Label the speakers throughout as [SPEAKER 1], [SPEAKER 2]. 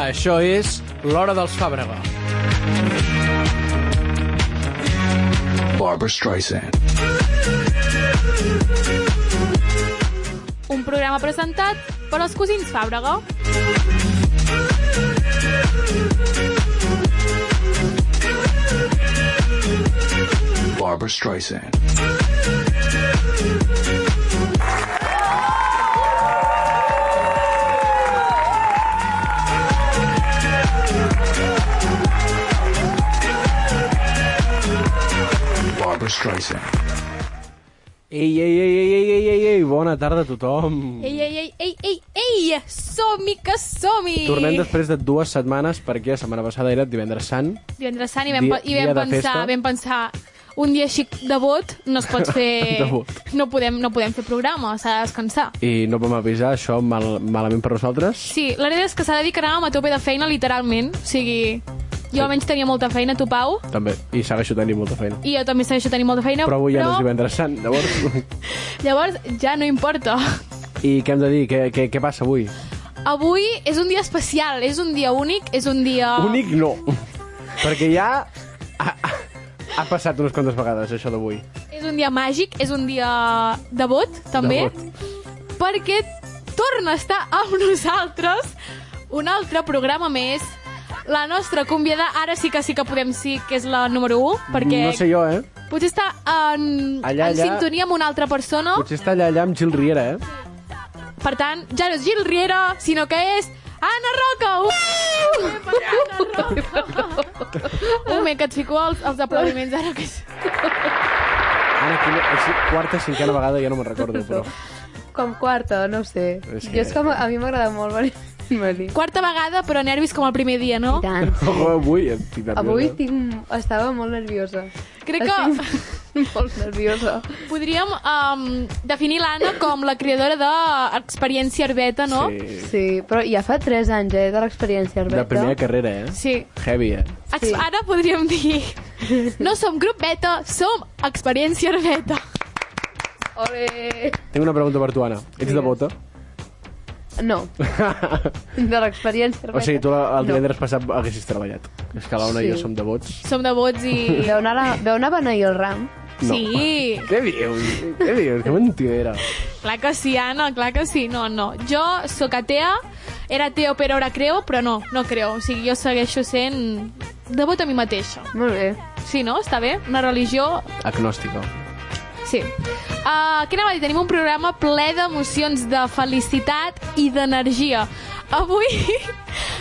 [SPEAKER 1] Això és l'Hora dels Fàbrega.
[SPEAKER 2] Barbara Streisand.
[SPEAKER 3] Un programa presentat per els cosins Fàbrega.
[SPEAKER 2] Barbara Streisand. Barbara Streisand.
[SPEAKER 4] Ei, ei, ei, ei, ei, ei, ei, ei, bona tarda a tothom.
[SPEAKER 3] Ei, ei, ei, ei, ei, ei, som-hi que som-hi!
[SPEAKER 4] Tornem després de dues setmanes, perquè la setmana passada era divendres sant.
[SPEAKER 3] Divendres Sant i vam,
[SPEAKER 4] Dia-
[SPEAKER 3] pe- i vam
[SPEAKER 4] dia de
[SPEAKER 3] pensar,
[SPEAKER 4] festa.
[SPEAKER 3] vam pensar un dia així de vot no es pot fer...
[SPEAKER 4] De vot.
[SPEAKER 3] No podem, no podem fer programa, s'ha de descansar.
[SPEAKER 4] I no vam avisar, això mal, malament per nosaltres.
[SPEAKER 3] Sí, la veritat és que s'ha de dir que anàvem a tope de feina, literalment. O sigui, jo almenys tenia molta feina, tu, Pau,
[SPEAKER 4] També, i segueixo tenint molta feina.
[SPEAKER 3] i jo també segueixo tenint molta feina,
[SPEAKER 4] Però avui ja no és
[SPEAKER 3] però
[SPEAKER 4] divendres sant, llavors...
[SPEAKER 3] llavors ja no importa.
[SPEAKER 4] I què hem de dir? Què, què, què passa avui?
[SPEAKER 3] Avui és un dia especial, és un dia únic, és un dia...
[SPEAKER 4] Únic no. perquè ja... Ha, ha, ha passat unes quantes vegades, això d'avui.
[SPEAKER 3] És un dia màgic, és un dia de vot, també,
[SPEAKER 4] De
[SPEAKER 3] perquè torna a estar amb nosaltres un altre programa més, la nostra convidada, ara sí que sí que podem sí que és la número 1, perquè
[SPEAKER 4] No sé jo, eh?
[SPEAKER 3] potser està en,
[SPEAKER 4] Allà,
[SPEAKER 3] en
[SPEAKER 4] allà.
[SPEAKER 3] sintonia amb una altra persona,
[SPEAKER 4] Potser està allà, allà amb Gil Riera, eh?
[SPEAKER 3] per tant, ja no és Gil Riera, sinó que és Anna Roca! Uh! Un moment, que et fico els, els aplaudiments ara que... és-
[SPEAKER 4] Ara, quina, és quarta, cinquena vegada, ja no me'n recordo, però...
[SPEAKER 5] Com quarta, no ho sé.
[SPEAKER 4] És
[SPEAKER 5] És
[SPEAKER 4] que-
[SPEAKER 5] que... Jo és que a mi m'agrada molt venir. venir.
[SPEAKER 3] Quarta vegada, però nervis com el primer dia, no?
[SPEAKER 5] I tant.
[SPEAKER 4] Oh, avui estic nerviosa.
[SPEAKER 5] Avui tinc... estava molt nerviosa.
[SPEAKER 3] Crec que-
[SPEAKER 5] Estic molt nerviosa.
[SPEAKER 3] Podríem um, definir l'Anna com la creadora d'experiència herbeta, no?
[SPEAKER 4] Sí.
[SPEAKER 5] Sí, però ja fa 3 anys, eh, de l'experiència, Arbeta.
[SPEAKER 4] De primera carrera, eh?
[SPEAKER 3] Sí.
[SPEAKER 4] Heavy, eh?
[SPEAKER 3] Ex
[SPEAKER 5] Sí.
[SPEAKER 3] Ara podríem dir... No som grup beta, som experiència herbeta.
[SPEAKER 5] Ole!
[SPEAKER 4] Tinc una pregunta per tu, Anna. Ets de
[SPEAKER 5] Digues.
[SPEAKER 4] bota?
[SPEAKER 5] No, de l'experiència, Arbeta.
[SPEAKER 4] o sigui, tu la- el
[SPEAKER 5] no.
[SPEAKER 4] divendres passat haguessis treballat. És que l'Ona i
[SPEAKER 5] Sí.
[SPEAKER 4] jo som de bots.
[SPEAKER 3] Som de vots i...
[SPEAKER 5] Veu anar, a, veu anar a beneir el ram.
[SPEAKER 4] No.
[SPEAKER 3] Sí,
[SPEAKER 4] Què dius? Què dius? Que mentidera.
[SPEAKER 3] clar que sí, Anna, clar que sí. No, no. Jo sóc atea, era ateo però ara creu, però no, no creu. O sigui, jo segueixo sent devota a mi mateixa.
[SPEAKER 5] Molt bé.
[SPEAKER 3] Sí, no? Està bé? Una religió
[SPEAKER 4] Agnòstica.
[SPEAKER 3] Sí. Uh, què anava a dir? Tenim un programa ple d'emocions, de felicitat i d'energia. Avui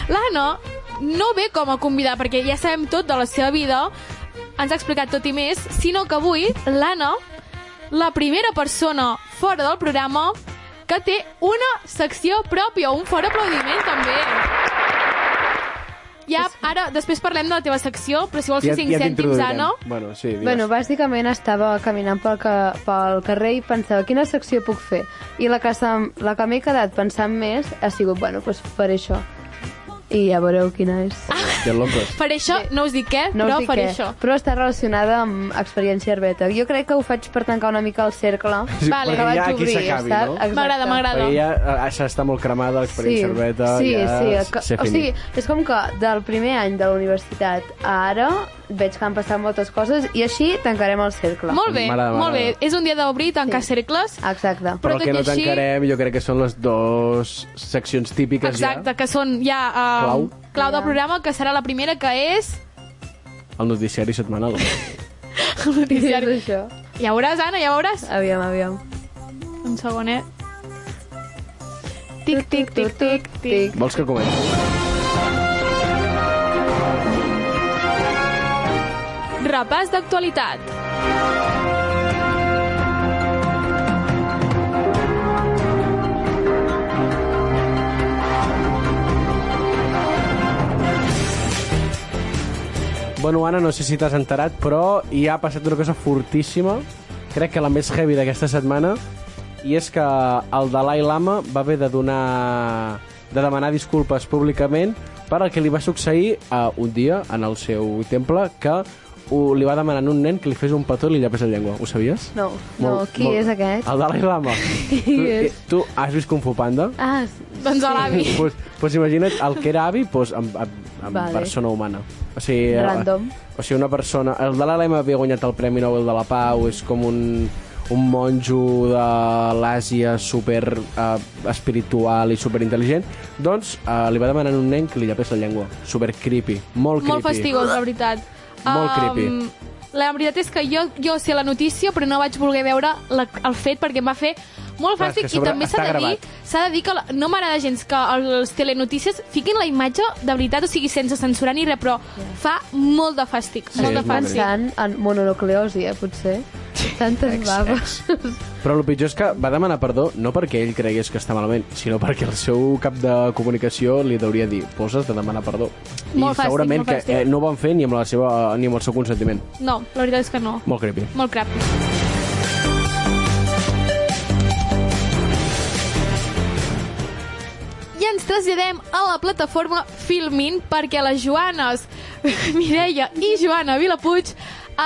[SPEAKER 3] l'Anna no ve com a convidar, perquè ja sabem tot de la seva vida, ens ha explicat tot i més, sinó que avui l'Anna, la primera persona fora del programa que té una secció pròpia, un fort aplaudiment també. Ja, ara, després parlem de la teva secció, però si vols fer 5 cèntims,
[SPEAKER 4] t'introduirem.
[SPEAKER 3] Anna...
[SPEAKER 4] Bueno, sí, digues. Bueno,
[SPEAKER 5] Bueno, bàsicament estava caminant pel, ca pel carrer i pensava quina secció puc fer. I la que, se- la que m'he quedat pensant més ha sigut, bueno, doncs faré això. I ja veureu quina és.
[SPEAKER 4] Té lompes.
[SPEAKER 3] Per això, Ah, no us dic què,
[SPEAKER 5] No us
[SPEAKER 3] però
[SPEAKER 5] dic
[SPEAKER 3] faré
[SPEAKER 5] què,
[SPEAKER 3] això.
[SPEAKER 5] però està relacionada amb experiència herbeta. Jo crec que ho faig per tancar una mica el cercle.
[SPEAKER 4] Sí, perquè
[SPEAKER 3] Vale.
[SPEAKER 5] que
[SPEAKER 4] ja
[SPEAKER 5] vaig
[SPEAKER 4] aquí
[SPEAKER 5] obrir,
[SPEAKER 4] s'acabi,
[SPEAKER 5] està-
[SPEAKER 4] no?
[SPEAKER 5] Exacte.
[SPEAKER 3] M'agrada, m'agrada.
[SPEAKER 4] Perquè ja eh, s'està molt cremada l'experiència herbeta.
[SPEAKER 5] sí,
[SPEAKER 4] ja
[SPEAKER 5] sí,
[SPEAKER 4] s'ha
[SPEAKER 5] que, o
[SPEAKER 4] finit.
[SPEAKER 5] sigui, és com que del primer any de la universitat a ara veig que han passat moltes coses i així tancarem el cercle.
[SPEAKER 3] Molt bé,
[SPEAKER 4] M'agrada,
[SPEAKER 3] molt bé.
[SPEAKER 4] m'agrada.
[SPEAKER 3] És un dia d'obrir i tancar
[SPEAKER 5] Sí. Ah,
[SPEAKER 3] cercles.
[SPEAKER 5] Exacte.
[SPEAKER 3] però
[SPEAKER 4] Però el
[SPEAKER 3] tot
[SPEAKER 4] que no
[SPEAKER 3] i així-
[SPEAKER 4] tancarem jo crec que són les dues seccions típiques
[SPEAKER 3] Exacte, que són ja... Um,
[SPEAKER 4] Clau.
[SPEAKER 3] clau. clau del
[SPEAKER 5] Ja.
[SPEAKER 3] programa, que serà la primera, que és...
[SPEAKER 4] ja. El noticiari setmanal.
[SPEAKER 5] Què és això?
[SPEAKER 3] Ja veuràs, Anna, ja veuràs.
[SPEAKER 5] Aviam, aviam.
[SPEAKER 3] Un eh? segonet. Tic, tic, tic, tic, tic.
[SPEAKER 4] Vols que comenci?
[SPEAKER 3] Repàs d'actualitat.
[SPEAKER 4] Bueno, Anna, no sé si t'has enterat, però hi ha passat una cosa fortíssima, crec que la més heavy d'aquesta setmana, i és que el Dalai Lama va haver de donar de demanar disculpes públicament per el que li va succeir eh, un dia en el seu temple que ho, li va demanar a un nen que li fes un petó i li llapés la llengua. Ho sabies?
[SPEAKER 5] No, no, qui és aquest?
[SPEAKER 4] El Dalai Lama.
[SPEAKER 5] Qui
[SPEAKER 4] tu,
[SPEAKER 5] és?
[SPEAKER 4] Tu has vist Kung Fu Panda?
[SPEAKER 5] Ah,
[SPEAKER 3] Doncs a l'avi.
[SPEAKER 4] pues, pues imagina't el que era avi pues, amb, amb, amb
[SPEAKER 5] Vale.
[SPEAKER 4] vale. persona humana. O sigui,
[SPEAKER 5] Random.
[SPEAKER 4] eh, O sigui, una persona... El de l'Alema havia guanyat el Premi Nobel de la Pau, és com un, un monjo de l'Àsia super eh, espiritual i super intel·ligent. Doncs eh, li va demanar a un nen que li llapés la llengua. Super creepy. Molt creepy.
[SPEAKER 3] Molt fastigós, la veritat.
[SPEAKER 4] Molt creepy.
[SPEAKER 3] La veritat és que jo, jo sé la notícia, però no vaig voler veure la, el fet perquè em va fer molt
[SPEAKER 4] Clar, és que a
[SPEAKER 3] fàstic i
[SPEAKER 4] sobre
[SPEAKER 3] també s'ha
[SPEAKER 4] està
[SPEAKER 3] de dir
[SPEAKER 4] gravat.
[SPEAKER 3] s'ha de dir que la, no m'agrada gens que els telenotícies fiquin la imatge de veritat, o sigui, sense censurar ni res, però fa molt de fàstic.
[SPEAKER 4] Sí,
[SPEAKER 3] molt de
[SPEAKER 4] és molt
[SPEAKER 3] fàstic.
[SPEAKER 5] Pensant en mononucleosi, eh, potser. Tantes baves.
[SPEAKER 4] Però el pitjor és que va demanar perdó no perquè ell cregués que està malament, sinó perquè el seu cap de comunicació li hauria de dir poses de demanar perdó. I
[SPEAKER 3] Molt fàstic,
[SPEAKER 4] segurament
[SPEAKER 3] molt fàstic.
[SPEAKER 4] que eh, no ho van fer ni amb, la seva, ni amb el seu consentiment.
[SPEAKER 3] No, la veritat és que no.
[SPEAKER 4] Molt creepy.
[SPEAKER 3] Molt crap. I ens traslladem a la plataforma Filmin perquè les Joanes, Mireia i Joana Vilapuig,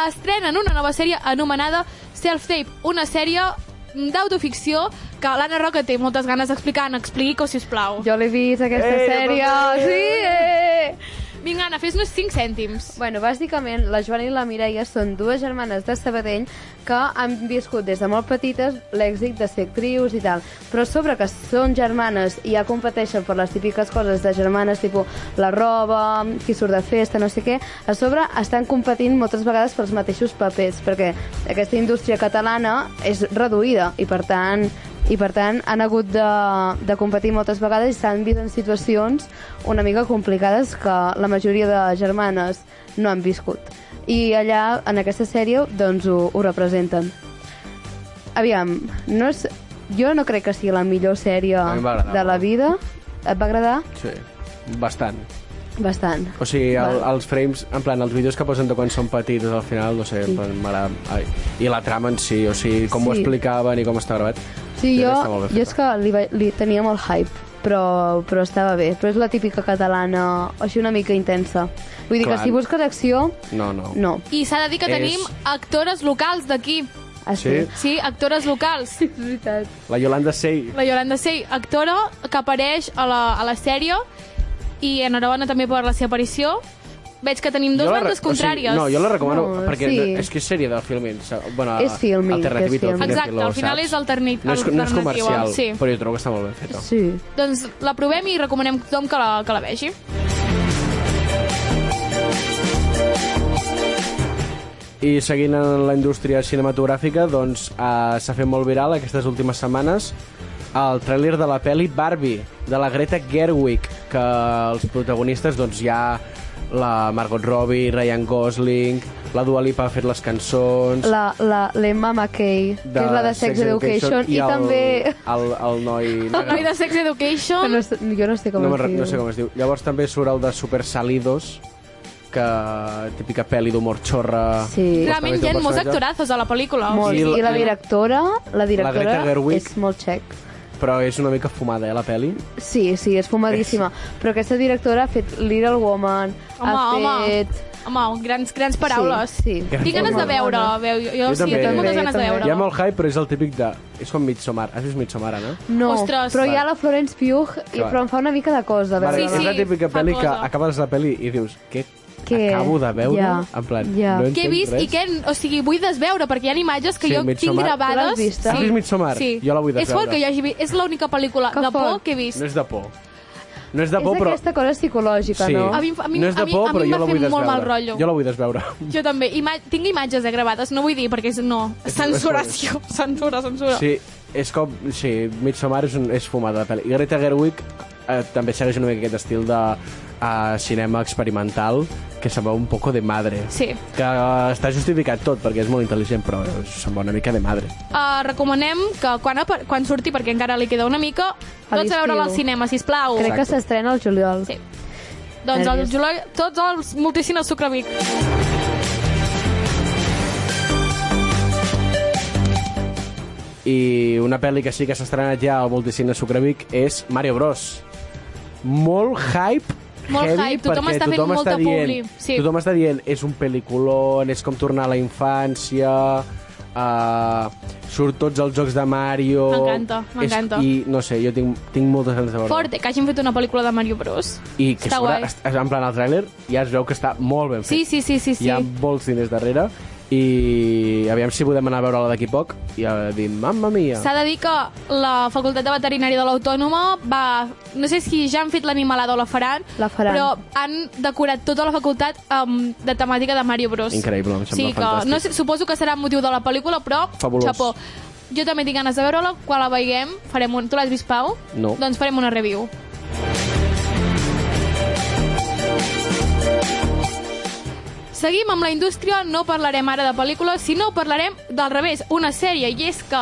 [SPEAKER 3] estrenen una nova sèrie anomenada Self-Tape, una sèrie d'autoficció que l'Anna Roca té moltes ganes d'explicar. Anna, expliqui-ho, sisplau.
[SPEAKER 5] Jo l'he vist,
[SPEAKER 3] Eh,
[SPEAKER 5] aquesta
[SPEAKER 4] Ei,
[SPEAKER 5] Ei,
[SPEAKER 4] no
[SPEAKER 5] sèrie. Ah,
[SPEAKER 4] passa
[SPEAKER 5] sí, eh!
[SPEAKER 3] Vinga, Anna, fes-nos 5 cèntims.
[SPEAKER 5] Bueno, bàsicament, la Joana i la Mireia són dues germanes de Sabadell que han viscut des de molt petites l'èxit de ser actrius i tal. Però a sobre que són germanes i ja competeixen per les típiques coses de germanes, tipus la roba, qui surt de festa, no sé què, a sobre estan competint moltes vegades pels mateixos papers, perquè aquesta indústria catalana és reduïda i, per tant, i per tant han hagut de, de competir moltes vegades i s'han vist en situacions una mica complicades que la majoria de germanes no han viscut. I allà, en aquesta sèrie, doncs ho, ho representen. Aviam, no és, jo no crec que sigui la millor sèrie
[SPEAKER 4] mi em va agradar
[SPEAKER 5] de la
[SPEAKER 4] molt.
[SPEAKER 5] vida. Et va agradar?
[SPEAKER 4] Sí. Bastant.
[SPEAKER 5] Bastant.
[SPEAKER 4] O sigui, el,
[SPEAKER 5] Va.
[SPEAKER 4] els frames, en plan, els vídeos que posen de quan són petits al final, no sé, sí. m'agrada... ai. I la trama en si, o sigui, com sí. ho
[SPEAKER 5] Sí.
[SPEAKER 4] explicaven i com està gravat.
[SPEAKER 5] Sí,
[SPEAKER 4] crec que
[SPEAKER 5] jo,
[SPEAKER 4] està molt ben
[SPEAKER 5] jo
[SPEAKER 4] feta.
[SPEAKER 5] és que li, va, li tenia molt hype, però, però estava bé. Però és la típica catalana, així una mica intensa. Vull dir
[SPEAKER 4] Clar.
[SPEAKER 5] que si busques acció,
[SPEAKER 4] No, no.
[SPEAKER 5] no.
[SPEAKER 3] I s'ha de dir que
[SPEAKER 4] És-
[SPEAKER 3] tenim actores locals d'aquí.
[SPEAKER 5] Així.
[SPEAKER 3] Sí, actores locals.
[SPEAKER 5] Sí, és veritat.
[SPEAKER 4] La Yolanda Sey
[SPEAKER 3] La Yolanda Sey, actora que apareix a la, a la sèrie i enhorabona també per la seva aparició. Veig que tenim dos
[SPEAKER 4] Jo la
[SPEAKER 3] bandes
[SPEAKER 4] re- o sigui,
[SPEAKER 3] contràries.
[SPEAKER 4] no, jo la recomano,
[SPEAKER 5] No,
[SPEAKER 4] perquè
[SPEAKER 5] sí.
[SPEAKER 4] és que és sèrie de filming. Bueno,
[SPEAKER 5] És filming,
[SPEAKER 4] alternativa
[SPEAKER 5] és filming.
[SPEAKER 4] del
[SPEAKER 3] Exacte,
[SPEAKER 4] Cinefilo,
[SPEAKER 3] al final
[SPEAKER 4] saps?
[SPEAKER 3] és alternit-
[SPEAKER 4] No és, no és
[SPEAKER 3] alternativa,
[SPEAKER 4] comercial,
[SPEAKER 3] sí.
[SPEAKER 4] però jo trobo que està molt ben feta.
[SPEAKER 5] Sí.
[SPEAKER 3] Doncs la provem i recomanem a tothom que la, que la vegi.
[SPEAKER 4] I seguint en la indústria cinematogràfica, doncs eh, s'ha fet molt viral aquestes últimes setmanes el tràiler de la pel·li Barbie, de la Greta Gerwig, que els protagonistes doncs, hi ha la Margot Robbie, Ryan Gosling, la Dua Lipa ha fet les cançons...
[SPEAKER 5] La, la, l'Emma McKay, que és la de Sex, Education, i, també...
[SPEAKER 4] El, el, el noi...
[SPEAKER 3] El noi de Sex
[SPEAKER 5] Que
[SPEAKER 3] Education,
[SPEAKER 5] No, sé- jo no sé com
[SPEAKER 4] no, me'n
[SPEAKER 5] es
[SPEAKER 4] re-
[SPEAKER 5] diu.
[SPEAKER 4] no sé com es diu. Llavors també surt el de Super Salidos, que típica pel·li d'humor xorra.
[SPEAKER 5] Sí.
[SPEAKER 3] realment hi ha molts
[SPEAKER 4] personatge,
[SPEAKER 3] actorazos a la pel·lícula.
[SPEAKER 5] Molt.
[SPEAKER 4] I
[SPEAKER 5] I
[SPEAKER 4] la-
[SPEAKER 5] la,
[SPEAKER 4] i-
[SPEAKER 5] directora, la directora
[SPEAKER 4] Greta Gerwig.
[SPEAKER 5] és molt xec.
[SPEAKER 4] Però és una mica fumada, eh, la pel·li.
[SPEAKER 5] Sí, sí, és fumadíssima. Però aquesta directora ha fet Little Woman,
[SPEAKER 3] Home,
[SPEAKER 5] ha
[SPEAKER 3] home.
[SPEAKER 5] fet...
[SPEAKER 3] Home, grans, grans paraules.
[SPEAKER 5] Sí, sí.
[SPEAKER 3] Tinc ganes de veure-la. Veu, jo, jo, sí,
[SPEAKER 4] també.
[SPEAKER 3] tinc moltes
[SPEAKER 5] Jo
[SPEAKER 3] ganes de
[SPEAKER 5] també.
[SPEAKER 3] veure
[SPEAKER 4] Hi ha molt hype, però és el típic de... És com Midsommar. Has vist Midsommar, no?
[SPEAKER 5] No,
[SPEAKER 3] Ostres.
[SPEAKER 5] però hi ha la Florence Pugh, i,
[SPEAKER 4] Clar.
[SPEAKER 5] però em fa una mica de cosa. De
[SPEAKER 3] Sí,
[SPEAKER 5] veure.
[SPEAKER 4] És la
[SPEAKER 3] sí,
[SPEAKER 4] típica
[SPEAKER 3] fa
[SPEAKER 4] pel·li que
[SPEAKER 3] cosa.
[SPEAKER 4] acabes la pel·li i dius... Què,
[SPEAKER 5] Què?
[SPEAKER 4] acabo de veure?
[SPEAKER 5] Ja.
[SPEAKER 4] En plan,
[SPEAKER 5] Ja.
[SPEAKER 4] no
[SPEAKER 3] Què he
[SPEAKER 4] entenc
[SPEAKER 3] vist
[SPEAKER 4] res.
[SPEAKER 3] i què... O sigui, vull desveure, perquè hi ha imatges que
[SPEAKER 4] Sí,
[SPEAKER 3] jo tinc
[SPEAKER 4] Midsommar.
[SPEAKER 5] Tu
[SPEAKER 3] gravades...
[SPEAKER 5] l'has vist?
[SPEAKER 4] Has vist Midsommar?
[SPEAKER 3] Sí.
[SPEAKER 4] Jo la vull
[SPEAKER 3] És fort
[SPEAKER 4] desveure.
[SPEAKER 3] que jo hagi vist. És l'única pel·lícula
[SPEAKER 5] Que
[SPEAKER 3] de por
[SPEAKER 5] fort.
[SPEAKER 3] que he vist.
[SPEAKER 4] No és de por. No és de
[SPEAKER 5] És
[SPEAKER 4] por, però...
[SPEAKER 5] aquesta cosa psicològica,
[SPEAKER 4] Sí.
[SPEAKER 5] no?
[SPEAKER 3] A mi em fa- a mi-
[SPEAKER 4] no és de
[SPEAKER 3] a mi-
[SPEAKER 4] por,
[SPEAKER 3] a mi
[SPEAKER 4] però
[SPEAKER 3] em
[SPEAKER 4] jo
[SPEAKER 3] va
[SPEAKER 4] la
[SPEAKER 3] fer
[SPEAKER 4] vull
[SPEAKER 3] molt
[SPEAKER 4] desveure.
[SPEAKER 3] mal rotllo.
[SPEAKER 4] Jo la vull desveure.
[SPEAKER 3] Jo també. Ima tinc imatges de gravades, no vull dir, perquè és, no. Censuració. Censura, censura.
[SPEAKER 4] Sí, és com... Sí, Midsommar és, un, és fumada de pel·li. I Greta Gerwig eh, també segueix una mica aquest estil de eh, cinema experimental que se'n va un poco de madre.
[SPEAKER 3] Sí.
[SPEAKER 4] Que està justificat tot, perquè és molt intel·ligent, però se'n va una mica de madre.
[SPEAKER 3] Uh, recomanem que quan, apa- quan surti, perquè encara li queda una mica,
[SPEAKER 5] A
[SPEAKER 3] tots a veure-la al
[SPEAKER 5] l'estiu.
[SPEAKER 3] cinema, sisplau.
[SPEAKER 5] Crec que
[SPEAKER 4] Exacte.
[SPEAKER 5] s'estrena al juliol.
[SPEAKER 3] Sí. Doncs el
[SPEAKER 5] Nervis.
[SPEAKER 3] juliol, tots els multicines Sucrevic.
[SPEAKER 4] I una pel·li que sí que s'ha estrenat ja al Multicine Sucrevic és Mario Bros. Molt hype
[SPEAKER 3] Molt
[SPEAKER 4] heavy,
[SPEAKER 3] hype, tothom
[SPEAKER 4] perquè
[SPEAKER 3] està fent
[SPEAKER 4] tothom
[SPEAKER 3] molta
[SPEAKER 4] dient,
[SPEAKER 3] publi, sí.
[SPEAKER 4] Tothom està dient, és un pel·liculon, és com tornar a la infància, eh, surt tots els jocs de Mario...
[SPEAKER 3] M'encanta,
[SPEAKER 4] És-
[SPEAKER 3] m'encanta.
[SPEAKER 4] I no sé, jo tinc, tinc moltes ganes de veure.
[SPEAKER 3] Fort, que hagin fet una pel·lícula de Mario Bros.
[SPEAKER 4] I que
[SPEAKER 3] Està
[SPEAKER 4] sobre,
[SPEAKER 3] guai.
[SPEAKER 4] est- en plan el tràiler ja es veu que està molt ben
[SPEAKER 3] Sí,
[SPEAKER 4] fet.
[SPEAKER 3] sí, sí, sí, sí.
[SPEAKER 4] Hi ha molts diners darrere i aviam si podem anar a veure-la d'aquí poc i a dir, mamma mia.
[SPEAKER 3] S'ha de dir que la Facultat de Veterinària de l'Autònoma va... No sé si ja han fet l'animalada o la faran,
[SPEAKER 5] La faran.
[SPEAKER 3] però han decorat tota la facultat um, de temàtica de Mario Bros.
[SPEAKER 4] Increïble, em sembla
[SPEAKER 3] sí, que,
[SPEAKER 4] fantàstic.
[SPEAKER 3] no sé, Suposo que serà motiu de la pel·lícula, però...
[SPEAKER 4] Fabulós.
[SPEAKER 3] Xapó. Jo també tinc ganes de veure-la. Quan la veiem, farem un... Tu l'has vist, Pau?
[SPEAKER 4] No.
[SPEAKER 3] Doncs farem una review. Seguim amb la indústria, no parlarem ara de pel·lícules, sinó parlarem del revés, una sèrie, i és que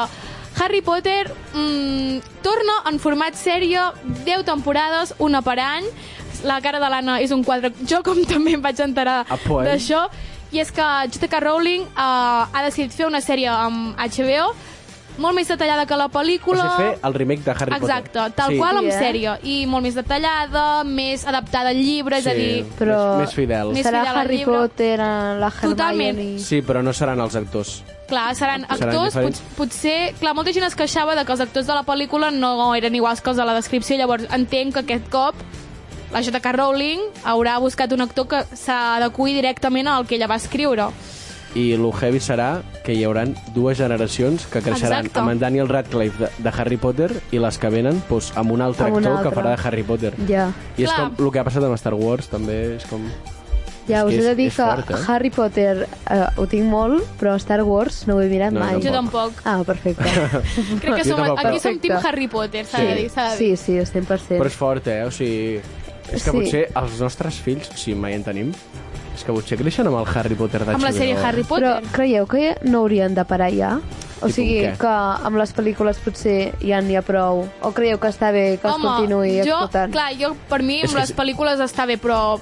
[SPEAKER 3] Harry Potter mmm, torna en format sèrie, 10 temporades, una per any. La cara de l'Anna és un quadre, jo com també em vaig enterar
[SPEAKER 4] Ah, pues.
[SPEAKER 3] d'això, i és que J.K. Rowling eh, ha decidit fer una sèrie amb HBO, molt més detallada que la
[SPEAKER 4] O
[SPEAKER 3] pel·lícula...
[SPEAKER 4] sigui, fer el remake de Harry Potter.
[SPEAKER 3] Exacte, tal qual amb
[SPEAKER 5] Sí, eh?
[SPEAKER 3] sèrie, i molt més detallada, més adaptada al llibre, és a dir...
[SPEAKER 5] Però...
[SPEAKER 4] Més, més fidel.
[SPEAKER 3] Més
[SPEAKER 5] Serà
[SPEAKER 3] fidel al
[SPEAKER 5] Harry
[SPEAKER 3] llibre.
[SPEAKER 5] Potter, eh, la Hermione...
[SPEAKER 3] Totalment.
[SPEAKER 4] Sí, però no seran els actors.
[SPEAKER 3] Clar, seran
[SPEAKER 4] Seran
[SPEAKER 3] actors,
[SPEAKER 4] diferents.
[SPEAKER 3] pot, potser... Clar, molta gent es queixava de que els actors de la pel·lícula no eren iguals que els de la descripció, llavors entenc que aquest cop la J.K. Rowling haurà buscat un actor que s'adequi directament al que ella va escriure.
[SPEAKER 4] I el heavy serà que hi hauran dues generacions que creixeran
[SPEAKER 3] Exacte.
[SPEAKER 4] amb en Daniel Radcliffe de, de Harry Potter i les que venen doncs, amb un altre
[SPEAKER 5] Amb un
[SPEAKER 4] actor que
[SPEAKER 5] altre.
[SPEAKER 4] farà de Harry Potter.
[SPEAKER 5] Ja.
[SPEAKER 4] I és
[SPEAKER 3] Clar.
[SPEAKER 4] com el que ha passat amb Star Wars, també és com...
[SPEAKER 5] Ja, us
[SPEAKER 4] És
[SPEAKER 5] he
[SPEAKER 4] que
[SPEAKER 5] de
[SPEAKER 4] és-
[SPEAKER 5] dir
[SPEAKER 4] és
[SPEAKER 5] que
[SPEAKER 4] fort, eh?
[SPEAKER 5] Harry Potter eh, ho tinc molt, però Star Wars no ho he mirat
[SPEAKER 4] No,
[SPEAKER 5] mai.
[SPEAKER 4] jo
[SPEAKER 3] Jo tampoc.
[SPEAKER 5] Ah, perfecte.
[SPEAKER 3] Crec que
[SPEAKER 4] Jo
[SPEAKER 3] som,
[SPEAKER 4] tampoc,
[SPEAKER 3] aquí
[SPEAKER 4] però-
[SPEAKER 3] som Team
[SPEAKER 5] Perfecte.
[SPEAKER 3] Harry Potter, s'ha
[SPEAKER 4] Sí.
[SPEAKER 3] de dir. s'ha de dir.
[SPEAKER 5] sí, sí, 100%.
[SPEAKER 4] Però és fort, eh? O sigui, és que
[SPEAKER 5] Sí.
[SPEAKER 4] potser els nostres fills, si mai en tenim, és que potser creixen amb el Harry Potter de
[SPEAKER 3] Amb la sèrie
[SPEAKER 4] Chibi-Doo.
[SPEAKER 3] Harry Potter.
[SPEAKER 5] Però creieu que no haurien de parar ja? O
[SPEAKER 4] Tipus
[SPEAKER 5] sigui,
[SPEAKER 4] què?
[SPEAKER 5] que amb les pel·lícules potser ja n'hi ha prou. O creieu que està bé que es continuï
[SPEAKER 3] jo,
[SPEAKER 5] explotant?
[SPEAKER 3] clar, jo, per mi,
[SPEAKER 4] És
[SPEAKER 3] amb
[SPEAKER 4] que
[SPEAKER 3] les
[SPEAKER 4] sí.
[SPEAKER 3] pel·lícules està bé, però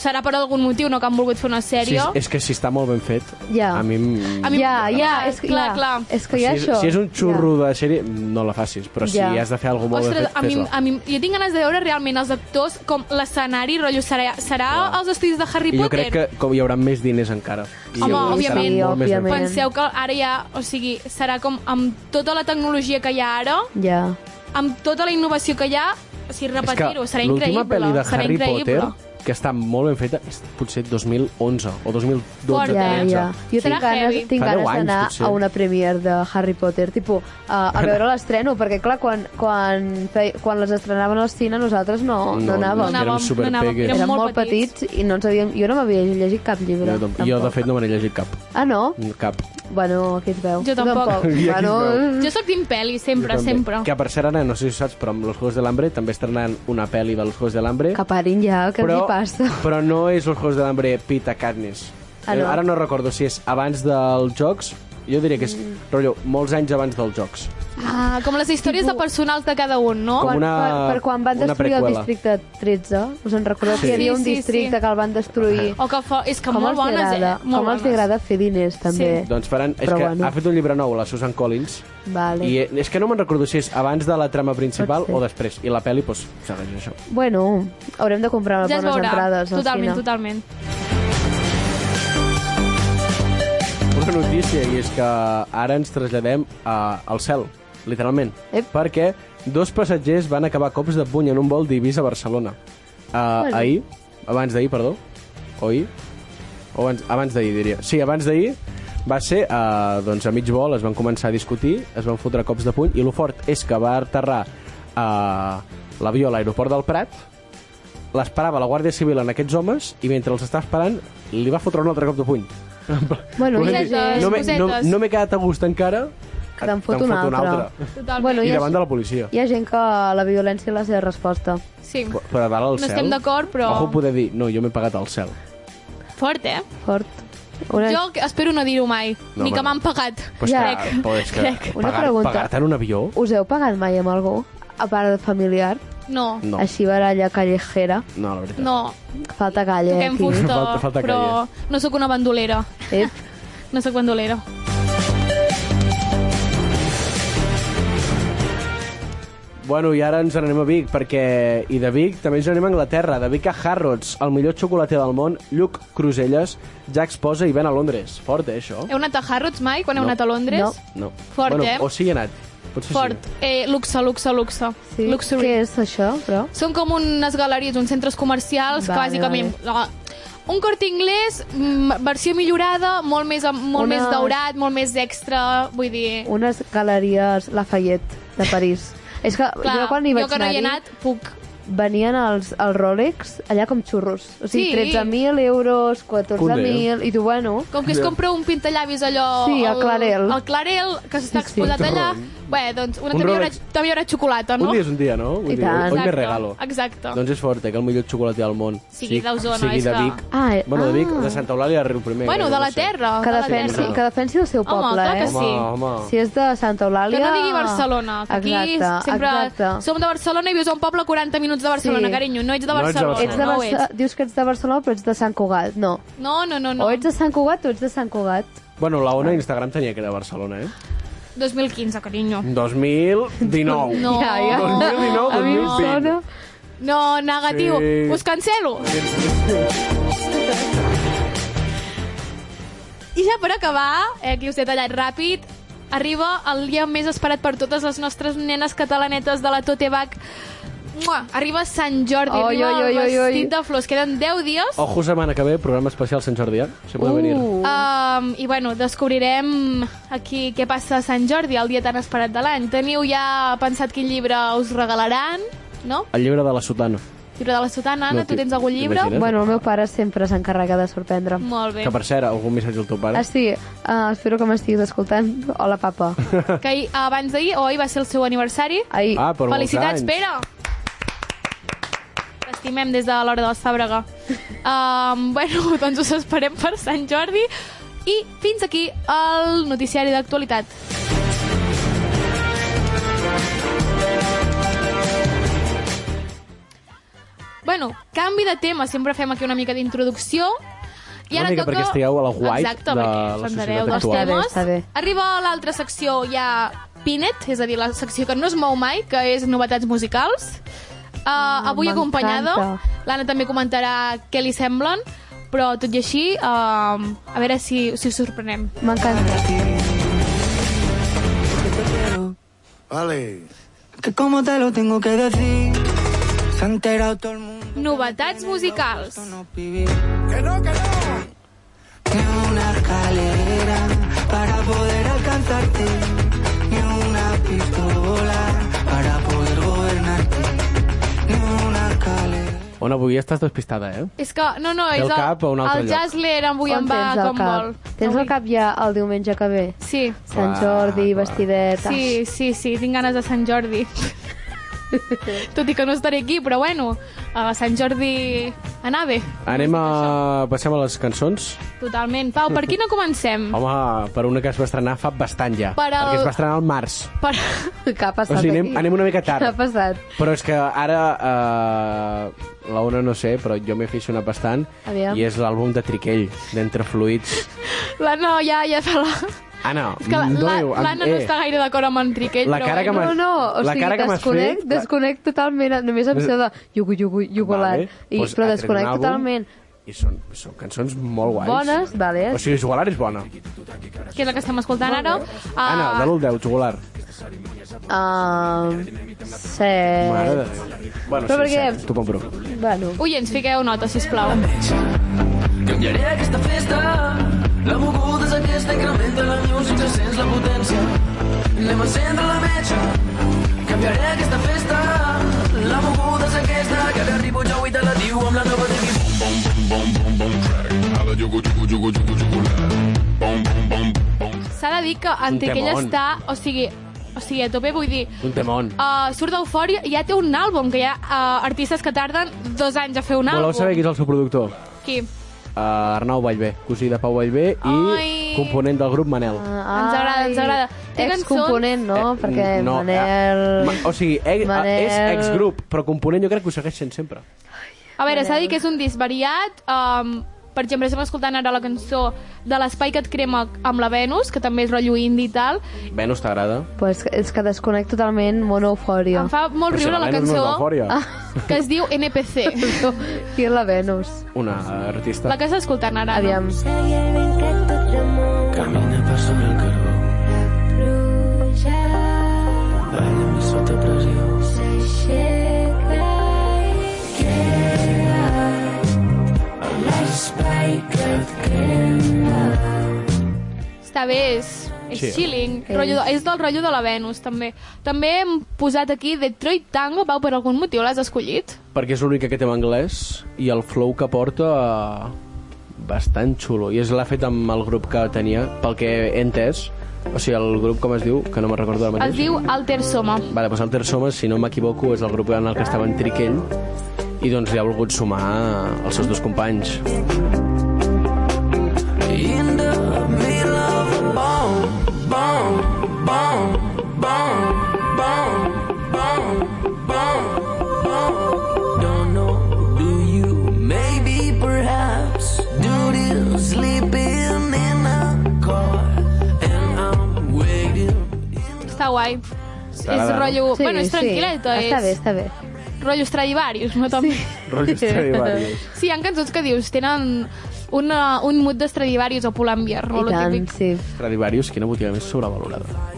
[SPEAKER 3] serà per algun motiu, no que han volgut fer una
[SPEAKER 4] Sí,
[SPEAKER 3] sèrie.
[SPEAKER 4] és, és que si està molt ben fet,
[SPEAKER 5] Ja.
[SPEAKER 4] a mi... em-
[SPEAKER 3] A mi-
[SPEAKER 5] Ja, ja, és que,
[SPEAKER 3] Clar,
[SPEAKER 5] ja,
[SPEAKER 3] clar.
[SPEAKER 5] És que hi ha
[SPEAKER 4] si,
[SPEAKER 5] això.
[SPEAKER 4] si és un xurro de sèrie, no la facis, però
[SPEAKER 5] Ja.
[SPEAKER 4] si has de fer alguna cosa molt
[SPEAKER 3] Ostres,
[SPEAKER 4] ben
[SPEAKER 3] a
[SPEAKER 4] fet,
[SPEAKER 3] mi,
[SPEAKER 4] fes-la.
[SPEAKER 3] a mi, jo tinc ganes de veure realment els actors com l'escenari, rotllo, serà, serà els estudis de Harry
[SPEAKER 4] I jo
[SPEAKER 3] Potter?
[SPEAKER 4] crec que com hi haurà més diners encara. I
[SPEAKER 3] Home,
[SPEAKER 4] segur que serà
[SPEAKER 3] òbviament.
[SPEAKER 4] molt més ben
[SPEAKER 5] Òbviament.
[SPEAKER 3] Penseu que ara ja, o sigui, serà com amb tota la tecnologia que hi ha ara,
[SPEAKER 5] Ja, ja.
[SPEAKER 3] amb tota la innovació que hi ha, o sigui,
[SPEAKER 4] fet. És que
[SPEAKER 3] repetir-ho, serà
[SPEAKER 4] l'última
[SPEAKER 3] increïble.
[SPEAKER 4] pel·li de
[SPEAKER 3] serà
[SPEAKER 4] Harry
[SPEAKER 3] increïble.
[SPEAKER 4] Potter, que està molt ben feta, és potser 2011 o 2012.
[SPEAKER 3] Forta,
[SPEAKER 5] Ja,
[SPEAKER 4] 13.
[SPEAKER 5] ja. Jo
[SPEAKER 3] Serà
[SPEAKER 5] tinc ganes,
[SPEAKER 3] heavy.
[SPEAKER 5] tinc
[SPEAKER 4] Fa deu
[SPEAKER 5] ganes
[SPEAKER 4] anys,
[SPEAKER 5] d'anar
[SPEAKER 4] potser.
[SPEAKER 5] a una premiere de Harry Potter, tipo, a, a veure l'estreno, perquè clar, quan, quan, fei, quan les estrenaven al cine nosaltres no, no, anàvem.
[SPEAKER 3] no
[SPEAKER 4] Érem
[SPEAKER 3] anàvem,
[SPEAKER 4] superpegues.
[SPEAKER 3] no anàvem, érem
[SPEAKER 5] Érem
[SPEAKER 3] molt
[SPEAKER 5] molt, petits. i no ens havíem... Jo no m'havia llegit cap llibre.
[SPEAKER 4] Jo, tampoc- jo, de
[SPEAKER 5] tampoc.
[SPEAKER 4] fet, no me n'he llegit cap.
[SPEAKER 5] Ah, no?
[SPEAKER 4] Cap.
[SPEAKER 5] Bueno, aquí es veu.
[SPEAKER 3] Jo tampoc.
[SPEAKER 4] I aquí es
[SPEAKER 5] Bueno,
[SPEAKER 4] veu.
[SPEAKER 3] Mm. Jo sóc Tim Peli, sempre,
[SPEAKER 4] També.
[SPEAKER 3] sempre.
[SPEAKER 4] Que per cert, ara, no sé si ho saps, però amb Los Juegos del Hambre també estrenaran una pel·li de Los Juegos del Hambre.
[SPEAKER 5] que parin ja, què els hi passa?
[SPEAKER 4] Però no és Los Juegos de l'Hambre Pita Katniss.
[SPEAKER 5] Ah, no?
[SPEAKER 4] Eh, Ara no recordo si és abans dels jocs, jo diria que és,
[SPEAKER 5] Mm.
[SPEAKER 4] rotllo, molts anys abans dels jocs.
[SPEAKER 3] Ah, com les històries de personals de cada un, no?
[SPEAKER 4] Com una-
[SPEAKER 5] per, per quan van
[SPEAKER 4] una
[SPEAKER 5] destruir el
[SPEAKER 4] prequela.
[SPEAKER 5] districte 13, us en recordeu
[SPEAKER 4] Sí.
[SPEAKER 5] que hi havia un
[SPEAKER 3] Sí, sí,
[SPEAKER 5] districte
[SPEAKER 3] sí.
[SPEAKER 5] que el van destruir?
[SPEAKER 3] O que fa... És que
[SPEAKER 5] com
[SPEAKER 3] molt
[SPEAKER 5] els
[SPEAKER 3] bones,
[SPEAKER 5] agrada,
[SPEAKER 3] eh? Molt
[SPEAKER 5] com els
[SPEAKER 3] bones.
[SPEAKER 5] agrada fer diners, també.
[SPEAKER 4] Doncs faran... És
[SPEAKER 5] Però
[SPEAKER 4] que
[SPEAKER 5] bueno.
[SPEAKER 4] ha fet un llibre nou, la Susan Collins,
[SPEAKER 5] Vale.
[SPEAKER 4] i eh, és que no me'n recordo si és abans de la trama principal
[SPEAKER 5] Pot ser.
[SPEAKER 4] o després. I la pel·li, doncs, segueix això.
[SPEAKER 5] Bueno, haurem de comprar
[SPEAKER 3] Ja es
[SPEAKER 5] bones
[SPEAKER 3] veurà.
[SPEAKER 5] entrades al
[SPEAKER 3] Totalment,
[SPEAKER 5] cine.
[SPEAKER 3] totalment.
[SPEAKER 4] Una notícia, i és que ara ens traslladem a, al cel, literalment.
[SPEAKER 5] Ep.
[SPEAKER 4] Perquè dos passatgers van acabar a cops de puny en un vol d'Ibis a Barcelona. Uh, bueno. Ahir, abans d'ahir, perdó, o ahir, o abans, abans d'ahir, diria. Sí, abans d'ahir va ser, uh, doncs a mig vol es van començar a discutir, es van fotre cops de puny, i lo fort és que va aterrar uh, l'avió a l'aeroport del Prat, l'esperava la Guàrdia Civil en aquests homes i mentre els estava esperant li va fotre un altre cop de puny.
[SPEAKER 5] Bueno,
[SPEAKER 4] Volen
[SPEAKER 5] hi ha
[SPEAKER 4] dir,
[SPEAKER 5] gent-
[SPEAKER 4] no m'he- no,
[SPEAKER 3] cosetes.
[SPEAKER 4] no m'he quedat a gust encara.
[SPEAKER 5] Que te'n fot un altre.
[SPEAKER 3] Totalment.
[SPEAKER 5] Bueno,
[SPEAKER 4] I
[SPEAKER 5] hi ha,
[SPEAKER 4] davant de la policia.
[SPEAKER 5] hi ha gent que la violència és la seva resposta.
[SPEAKER 3] Sí.
[SPEAKER 4] Però a dalt al
[SPEAKER 3] No
[SPEAKER 4] cel...
[SPEAKER 3] estem d'acord, però-
[SPEAKER 4] Ojo poder dir, no, jo m'he pagat al cel.
[SPEAKER 3] Fort, eh?
[SPEAKER 5] Fort. Una,
[SPEAKER 3] Jo espero no dir-ho mai,
[SPEAKER 4] Eh. No,
[SPEAKER 3] ni que
[SPEAKER 4] bueno.
[SPEAKER 3] m'han pagat.
[SPEAKER 4] Però és
[SPEAKER 5] Ja.
[SPEAKER 4] que, però és que
[SPEAKER 3] Crec.
[SPEAKER 5] Una
[SPEAKER 4] pagar-
[SPEAKER 5] pregunta.
[SPEAKER 4] Pagar-te en un avió...
[SPEAKER 5] Us heu pagat mai amb algú? A part de familiar?
[SPEAKER 3] No,
[SPEAKER 4] No,
[SPEAKER 5] Així baralla callejera?
[SPEAKER 4] no, la veritat.
[SPEAKER 3] no,
[SPEAKER 5] Que Falta calla eh,
[SPEAKER 3] toquem
[SPEAKER 5] aquí. Eh?
[SPEAKER 3] fusta,
[SPEAKER 4] Falta- falta
[SPEAKER 3] però no sóc una bandolera.
[SPEAKER 5] Ep.
[SPEAKER 3] No sóc bandolera.
[SPEAKER 4] Bueno, i ara ens n'anem a Vic, perquè... I de Vic també ens n'anem a Anglaterra, de Vic a Harrods, el millor xocolater del món, Lluc Cruselles, ja exposa i ven a Londres. Fort, eh, això?
[SPEAKER 3] Heu anat a Harrods mai, quan heu
[SPEAKER 4] No.
[SPEAKER 3] anat a Londres?
[SPEAKER 5] No.
[SPEAKER 4] No.
[SPEAKER 3] Fort,
[SPEAKER 4] bueno,
[SPEAKER 3] eh?
[SPEAKER 4] O sí, hi he anat. Potser
[SPEAKER 3] Fort.
[SPEAKER 4] Sí.
[SPEAKER 3] Eh, luxe, luxe, luxe.
[SPEAKER 5] Sí.
[SPEAKER 3] Luxury.
[SPEAKER 5] Què és això, però?
[SPEAKER 3] Són com unes galeries, uns centres comercials que
[SPEAKER 5] Vale,
[SPEAKER 3] bàsicament... Un corte inglès, mm, versió millorada, molt més, molt
[SPEAKER 5] Una-
[SPEAKER 3] més daurat, molt més extra, vull dir...
[SPEAKER 5] Unes galeries Lafayette de París. És que
[SPEAKER 3] Clar,
[SPEAKER 5] jo quan hi vaig
[SPEAKER 3] jo que no hi he
[SPEAKER 5] anar-hi,
[SPEAKER 3] anat, puc...
[SPEAKER 5] venien els, els Rolex allà com xurros. O
[SPEAKER 3] Sí.
[SPEAKER 5] sigui, 13.000 euros, 14.000, i tu, bueno...
[SPEAKER 3] Com que es compra un pintallavis allò...
[SPEAKER 5] Sí, al Clarel.
[SPEAKER 3] El Clarel, que s'està
[SPEAKER 5] Sí, sí.
[SPEAKER 3] exposat allà. Bé, doncs una
[SPEAKER 4] Un Rolex.
[SPEAKER 3] t'havia una xocolata,
[SPEAKER 4] Un
[SPEAKER 3] no?
[SPEAKER 4] dia és un dia, no? Vull
[SPEAKER 5] I
[SPEAKER 4] dir,
[SPEAKER 5] tant.
[SPEAKER 4] Hoy me
[SPEAKER 3] Exacte,
[SPEAKER 4] regalo.
[SPEAKER 3] Exacte.
[SPEAKER 4] Doncs és fort, eh, que el millor xocolater del món.
[SPEAKER 3] Sigui d'Osona,
[SPEAKER 4] Sigui
[SPEAKER 3] és
[SPEAKER 4] de
[SPEAKER 3] que-
[SPEAKER 4] Vic.
[SPEAKER 5] Ah, eh,
[SPEAKER 4] Bueno, de Vic,
[SPEAKER 5] ah.
[SPEAKER 4] de Santa Eulàlia de Riu Primer.
[SPEAKER 3] Bueno,
[SPEAKER 4] eh,
[SPEAKER 3] de
[SPEAKER 4] no
[SPEAKER 3] la
[SPEAKER 4] sé.
[SPEAKER 3] terra.
[SPEAKER 5] Que
[SPEAKER 3] de la
[SPEAKER 5] defensi,
[SPEAKER 3] terra.
[SPEAKER 5] que defensi el seu
[SPEAKER 3] Home,
[SPEAKER 5] poble,
[SPEAKER 3] clar
[SPEAKER 5] eh?
[SPEAKER 3] que
[SPEAKER 4] Home,
[SPEAKER 3] sí.
[SPEAKER 4] home.
[SPEAKER 5] Si és de Santa Eulàlia...
[SPEAKER 3] Que no digui Barcelona, que aquí
[SPEAKER 5] Exacte,
[SPEAKER 3] sempre...
[SPEAKER 5] exacte.
[SPEAKER 3] Som de Barcelona i vius a un poble a 40 minuts de Barcelona,
[SPEAKER 5] Sí.
[SPEAKER 3] carinyo. No ets de
[SPEAKER 4] No ets de
[SPEAKER 3] Barcelona,
[SPEAKER 5] Ets de
[SPEAKER 3] no ho
[SPEAKER 5] Barce...
[SPEAKER 3] ets.
[SPEAKER 5] Dius que ets de Barcelona, però ets de Sant Cugat. No.
[SPEAKER 3] No, no, no,
[SPEAKER 5] no.
[SPEAKER 3] no.
[SPEAKER 5] O ets de Sant Cugat o ets de Sant Cugat.
[SPEAKER 4] Bueno, la Ona a Instagram tenia que era Barcelona, eh?
[SPEAKER 3] 2015, carinyo.
[SPEAKER 4] 2019.
[SPEAKER 3] No.
[SPEAKER 5] Ja, ja.
[SPEAKER 4] 2019,
[SPEAKER 5] A mi em
[SPEAKER 4] 2020.
[SPEAKER 5] sona...
[SPEAKER 3] No, negatiu.
[SPEAKER 4] Sí.
[SPEAKER 3] Us cancelo. I ja per acabar, eh, aquí us he tallat ràpid, arriba el dia més esperat per totes les nostres nenes catalanetes de la Totebac. Mua! Arriba Sant Jordi,
[SPEAKER 5] Oi,
[SPEAKER 3] arriba
[SPEAKER 5] oi, oi,
[SPEAKER 3] el
[SPEAKER 5] oi, oi.
[SPEAKER 3] vestit de flors. Queden 10 dies.
[SPEAKER 4] Ojo, setmana que ve, programa especial Sant Jordi, eh? Si podeu venir.
[SPEAKER 5] Uh.
[SPEAKER 3] Um, I bueno, descobrirem aquí què passa a Sant Jordi, el dia tan esperat de l'any. Teniu ja pensat quin llibre us regalaran, no?
[SPEAKER 4] El llibre de la sotana.
[SPEAKER 3] Llibre de la sotana, Anna,
[SPEAKER 4] No,
[SPEAKER 3] tu tens algun llibre?
[SPEAKER 4] t'imagines?
[SPEAKER 5] Bueno, el meu pare sempre s'encarrega de sorprendre'm.
[SPEAKER 3] Molt bé.
[SPEAKER 4] Que, per cert, algun missatge al teu pare?
[SPEAKER 5] Ah, sí, uh, espero que m'estiguis escoltant. Hola, papa.
[SPEAKER 3] Que ahir, abans d'ahir o ahir va ser el seu aniversari.
[SPEAKER 5] Ahir,
[SPEAKER 4] Ah, per molts
[SPEAKER 3] Felicitats,
[SPEAKER 4] anys.
[SPEAKER 3] Pere! T'estimem des de l'hora de la Sàbrega. Um, bueno, doncs us esperem per Sant Jordi. I fins aquí el noticiari d'actualitat. Bueno, canvi de tema. Sempre fem aquí una mica d'introducció. I
[SPEAKER 4] Una
[SPEAKER 3] ara
[SPEAKER 4] mica
[SPEAKER 3] toca...
[SPEAKER 4] perquè estigueu a la white
[SPEAKER 3] Exacte,
[SPEAKER 4] de
[SPEAKER 3] perquè
[SPEAKER 4] la
[SPEAKER 3] us
[SPEAKER 4] societat
[SPEAKER 3] entereu dels
[SPEAKER 4] actual.
[SPEAKER 5] Està bé,
[SPEAKER 3] temes.
[SPEAKER 5] està bé.
[SPEAKER 3] Arriba a l'altra secció ja Pinet, és a dir, la secció que no es mou mai, que és novetats musicals. Uh, avui
[SPEAKER 5] Mm, m'encanta.
[SPEAKER 3] acompanyada, l'Anna també comentarà què li semblen, però tot i així, uh, a veure si, si us sorprenem.
[SPEAKER 5] m'encanta.
[SPEAKER 6] Vale. Que como te lo tengo que decir, se ha enterado todo el mundo.
[SPEAKER 3] Novetats musicals.
[SPEAKER 6] No, pibi. Que no, que no. Ni una escalera para poder alcanzarte. Ni una pistola para poder gobernarte. Ni una escalera.
[SPEAKER 4] Ona, avui estàs despistada, eh?
[SPEAKER 3] És que, no, no,
[SPEAKER 4] Té
[SPEAKER 3] és
[SPEAKER 4] el cap a un altre
[SPEAKER 3] el
[SPEAKER 4] lloc.
[SPEAKER 3] Jazz Lair avui em
[SPEAKER 5] On
[SPEAKER 3] va
[SPEAKER 5] tens el
[SPEAKER 3] com
[SPEAKER 5] cap?
[SPEAKER 3] vol.
[SPEAKER 5] Tens
[SPEAKER 3] Avui.
[SPEAKER 5] el cap ja el diumenge que ve?
[SPEAKER 3] Sí.
[SPEAKER 5] Sant
[SPEAKER 4] Clar,
[SPEAKER 5] Jordi,
[SPEAKER 4] clar.
[SPEAKER 5] vestidet... ah,
[SPEAKER 3] Sí, sí, sí, tinc ganes de Sant Jordi. Tot i que no estaré aquí, però bueno, a Sant Jordi anar bé,
[SPEAKER 4] Anem a... Passem a les cançons.
[SPEAKER 3] totalment. Pau, per quina comencem?
[SPEAKER 4] Home, per una que es va estrenar fa bastant ja.
[SPEAKER 3] Mm. Per el-
[SPEAKER 4] Perquè es va estrenar al març.
[SPEAKER 3] Per...
[SPEAKER 5] Que ha
[SPEAKER 4] O
[SPEAKER 5] passat
[SPEAKER 4] sigui, anem,
[SPEAKER 5] aquí?
[SPEAKER 4] anem una mica
[SPEAKER 5] Què ha
[SPEAKER 4] tard.
[SPEAKER 5] passat?
[SPEAKER 4] Però és que ara... Eh, la Ona no sé, però jo m'he aficionat bastant.
[SPEAKER 5] Aviam.
[SPEAKER 4] I és l'àlbum de Triquell, d'Entre Fluids.
[SPEAKER 3] La noia ja fa la...
[SPEAKER 4] Anna,
[SPEAKER 3] És que la- la-
[SPEAKER 4] doneu... amb-
[SPEAKER 3] l'Anna no
[SPEAKER 4] eh,
[SPEAKER 3] està gaire d'acord amb en Triquell,
[SPEAKER 4] La
[SPEAKER 3] però
[SPEAKER 4] cara que
[SPEAKER 3] bueno.
[SPEAKER 5] No, no, o
[SPEAKER 4] La
[SPEAKER 5] sigui,
[SPEAKER 4] cara que m'has
[SPEAKER 5] desconec,
[SPEAKER 4] fet-
[SPEAKER 5] desconec totalment, només em sé de iugu, iugu, iugulat,
[SPEAKER 4] Vale.
[SPEAKER 5] i,
[SPEAKER 4] Doncs
[SPEAKER 5] però
[SPEAKER 4] ha tret
[SPEAKER 5] desconec
[SPEAKER 4] un àlbum
[SPEAKER 5] totalment.
[SPEAKER 4] I són, són cançons molt guais.
[SPEAKER 5] Bones, vale.
[SPEAKER 4] O sigui, Jugular és bona.
[SPEAKER 3] que és la que estem escoltant ara. Uh,
[SPEAKER 4] Anna, de l'1 al 10, Jugular.
[SPEAKER 5] Um,
[SPEAKER 4] Mare
[SPEAKER 5] set...
[SPEAKER 4] de Déu. Bueno,
[SPEAKER 5] Però
[SPEAKER 4] sí,
[SPEAKER 5] perquè-
[SPEAKER 4] cert, t'ho compro.
[SPEAKER 5] Bueno,
[SPEAKER 3] Oients, fiqueu nota, sisplau.
[SPEAKER 7] Canviaré aquesta festa. La moguda és aquesta, incrementa la música, sents la potència. Anem a encendre la metxa. Canviaré aquesta festa. La moguda és aquesta, que ara arribo jo i te la diu amb la nova de mi.
[SPEAKER 3] S'ha de dir que en
[SPEAKER 4] Un
[SPEAKER 3] Triquell
[SPEAKER 4] temón.
[SPEAKER 3] està... O sigui, o sigui, a tope, vull dir...
[SPEAKER 4] Un temón.
[SPEAKER 3] Uh, surt d'Eufòria i ja té un àlbum, que hi ha uh, artistes que tarden dos anys a fer un àlbum.
[SPEAKER 4] Voleu saber qui és el seu productor?
[SPEAKER 3] Qui?
[SPEAKER 4] Uh, Arnau Vallvé, cosí de Pau Vallvé i
[SPEAKER 3] Ai.
[SPEAKER 4] component del grup Manel.
[SPEAKER 5] Ens
[SPEAKER 3] agrada, ens agrada. Té cançons-
[SPEAKER 5] Excomponent, Ah, no?
[SPEAKER 4] Eh,
[SPEAKER 5] Perquè
[SPEAKER 4] no, eh,
[SPEAKER 5] Manel...
[SPEAKER 4] ma- o sigui, eh,
[SPEAKER 5] Manel-
[SPEAKER 4] Manel... és exgrup, però component jo crec que ho segueix sent sempre.
[SPEAKER 3] A veure, s'ha de dir que és un disc variat, um, Per exemple, estem escoltant ara la cançó de l'Espai que et crema amb la Venus, que també és rotllo indie i tal.
[SPEAKER 4] Venus t'agrada?
[SPEAKER 5] Pues és que desconec totalment monofòria.
[SPEAKER 3] Em fa molt
[SPEAKER 4] Però si
[SPEAKER 3] riure
[SPEAKER 4] la
[SPEAKER 3] la
[SPEAKER 4] Venus no és
[SPEAKER 3] cançó Ah.
[SPEAKER 4] d'Eufòria.
[SPEAKER 3] que es diu NPC,
[SPEAKER 5] Qui és la Venus?
[SPEAKER 4] Una artista.
[SPEAKER 3] la que està escoltant ara. no?
[SPEAKER 5] Aviam.
[SPEAKER 7] Camina per sobre el caró. Balla més sota pressió.
[SPEAKER 3] Està bé, és, és
[SPEAKER 4] Chill.
[SPEAKER 3] chilling. Rotllo, de- és del rotllo de la Venus, també. També hem posat aquí Detroit Tango. Pau, per algun motiu l'has escollit?
[SPEAKER 4] perquè és l'única que té en anglès i el flow que porta eh, bastant xulo i és l'ha fet amb el grup que tenia pel que he entès o sigui, el grup com es diu, que no me'n recordo ara mateix
[SPEAKER 3] Es diu Alter Soma.
[SPEAKER 4] Vale, doncs Alter Somes, si no m'equivoco, és el grup en el que estava en Triquell i doncs li ha volgut sumar eh, els seus dos companys.
[SPEAKER 7] In the middle of a bomb, bomb, bomb, bomb, bomb, bomb, bomb, bomb. Don't know, do you? Maybe, perhaps. Duty sleeping in a car, and I'm waiting.
[SPEAKER 3] Està guai.
[SPEAKER 4] bé,
[SPEAKER 3] és
[SPEAKER 4] no?
[SPEAKER 3] rotllo... bueno, és tranquil·leta,
[SPEAKER 5] sí. Està bé,
[SPEAKER 3] és
[SPEAKER 5] està bé.
[SPEAKER 3] rotllo Stradivarius, no? També. Sí.
[SPEAKER 4] Rotllo Stradivarius.
[SPEAKER 3] sí, hi ha cançons que dius, tenen una, un mood de Stradivarius o Pull&Bear, no?
[SPEAKER 5] I
[SPEAKER 3] Lo
[SPEAKER 5] tant,
[SPEAKER 3] típic.
[SPEAKER 5] sí.
[SPEAKER 4] Stradivarius, quina botiga més sobrevalorada.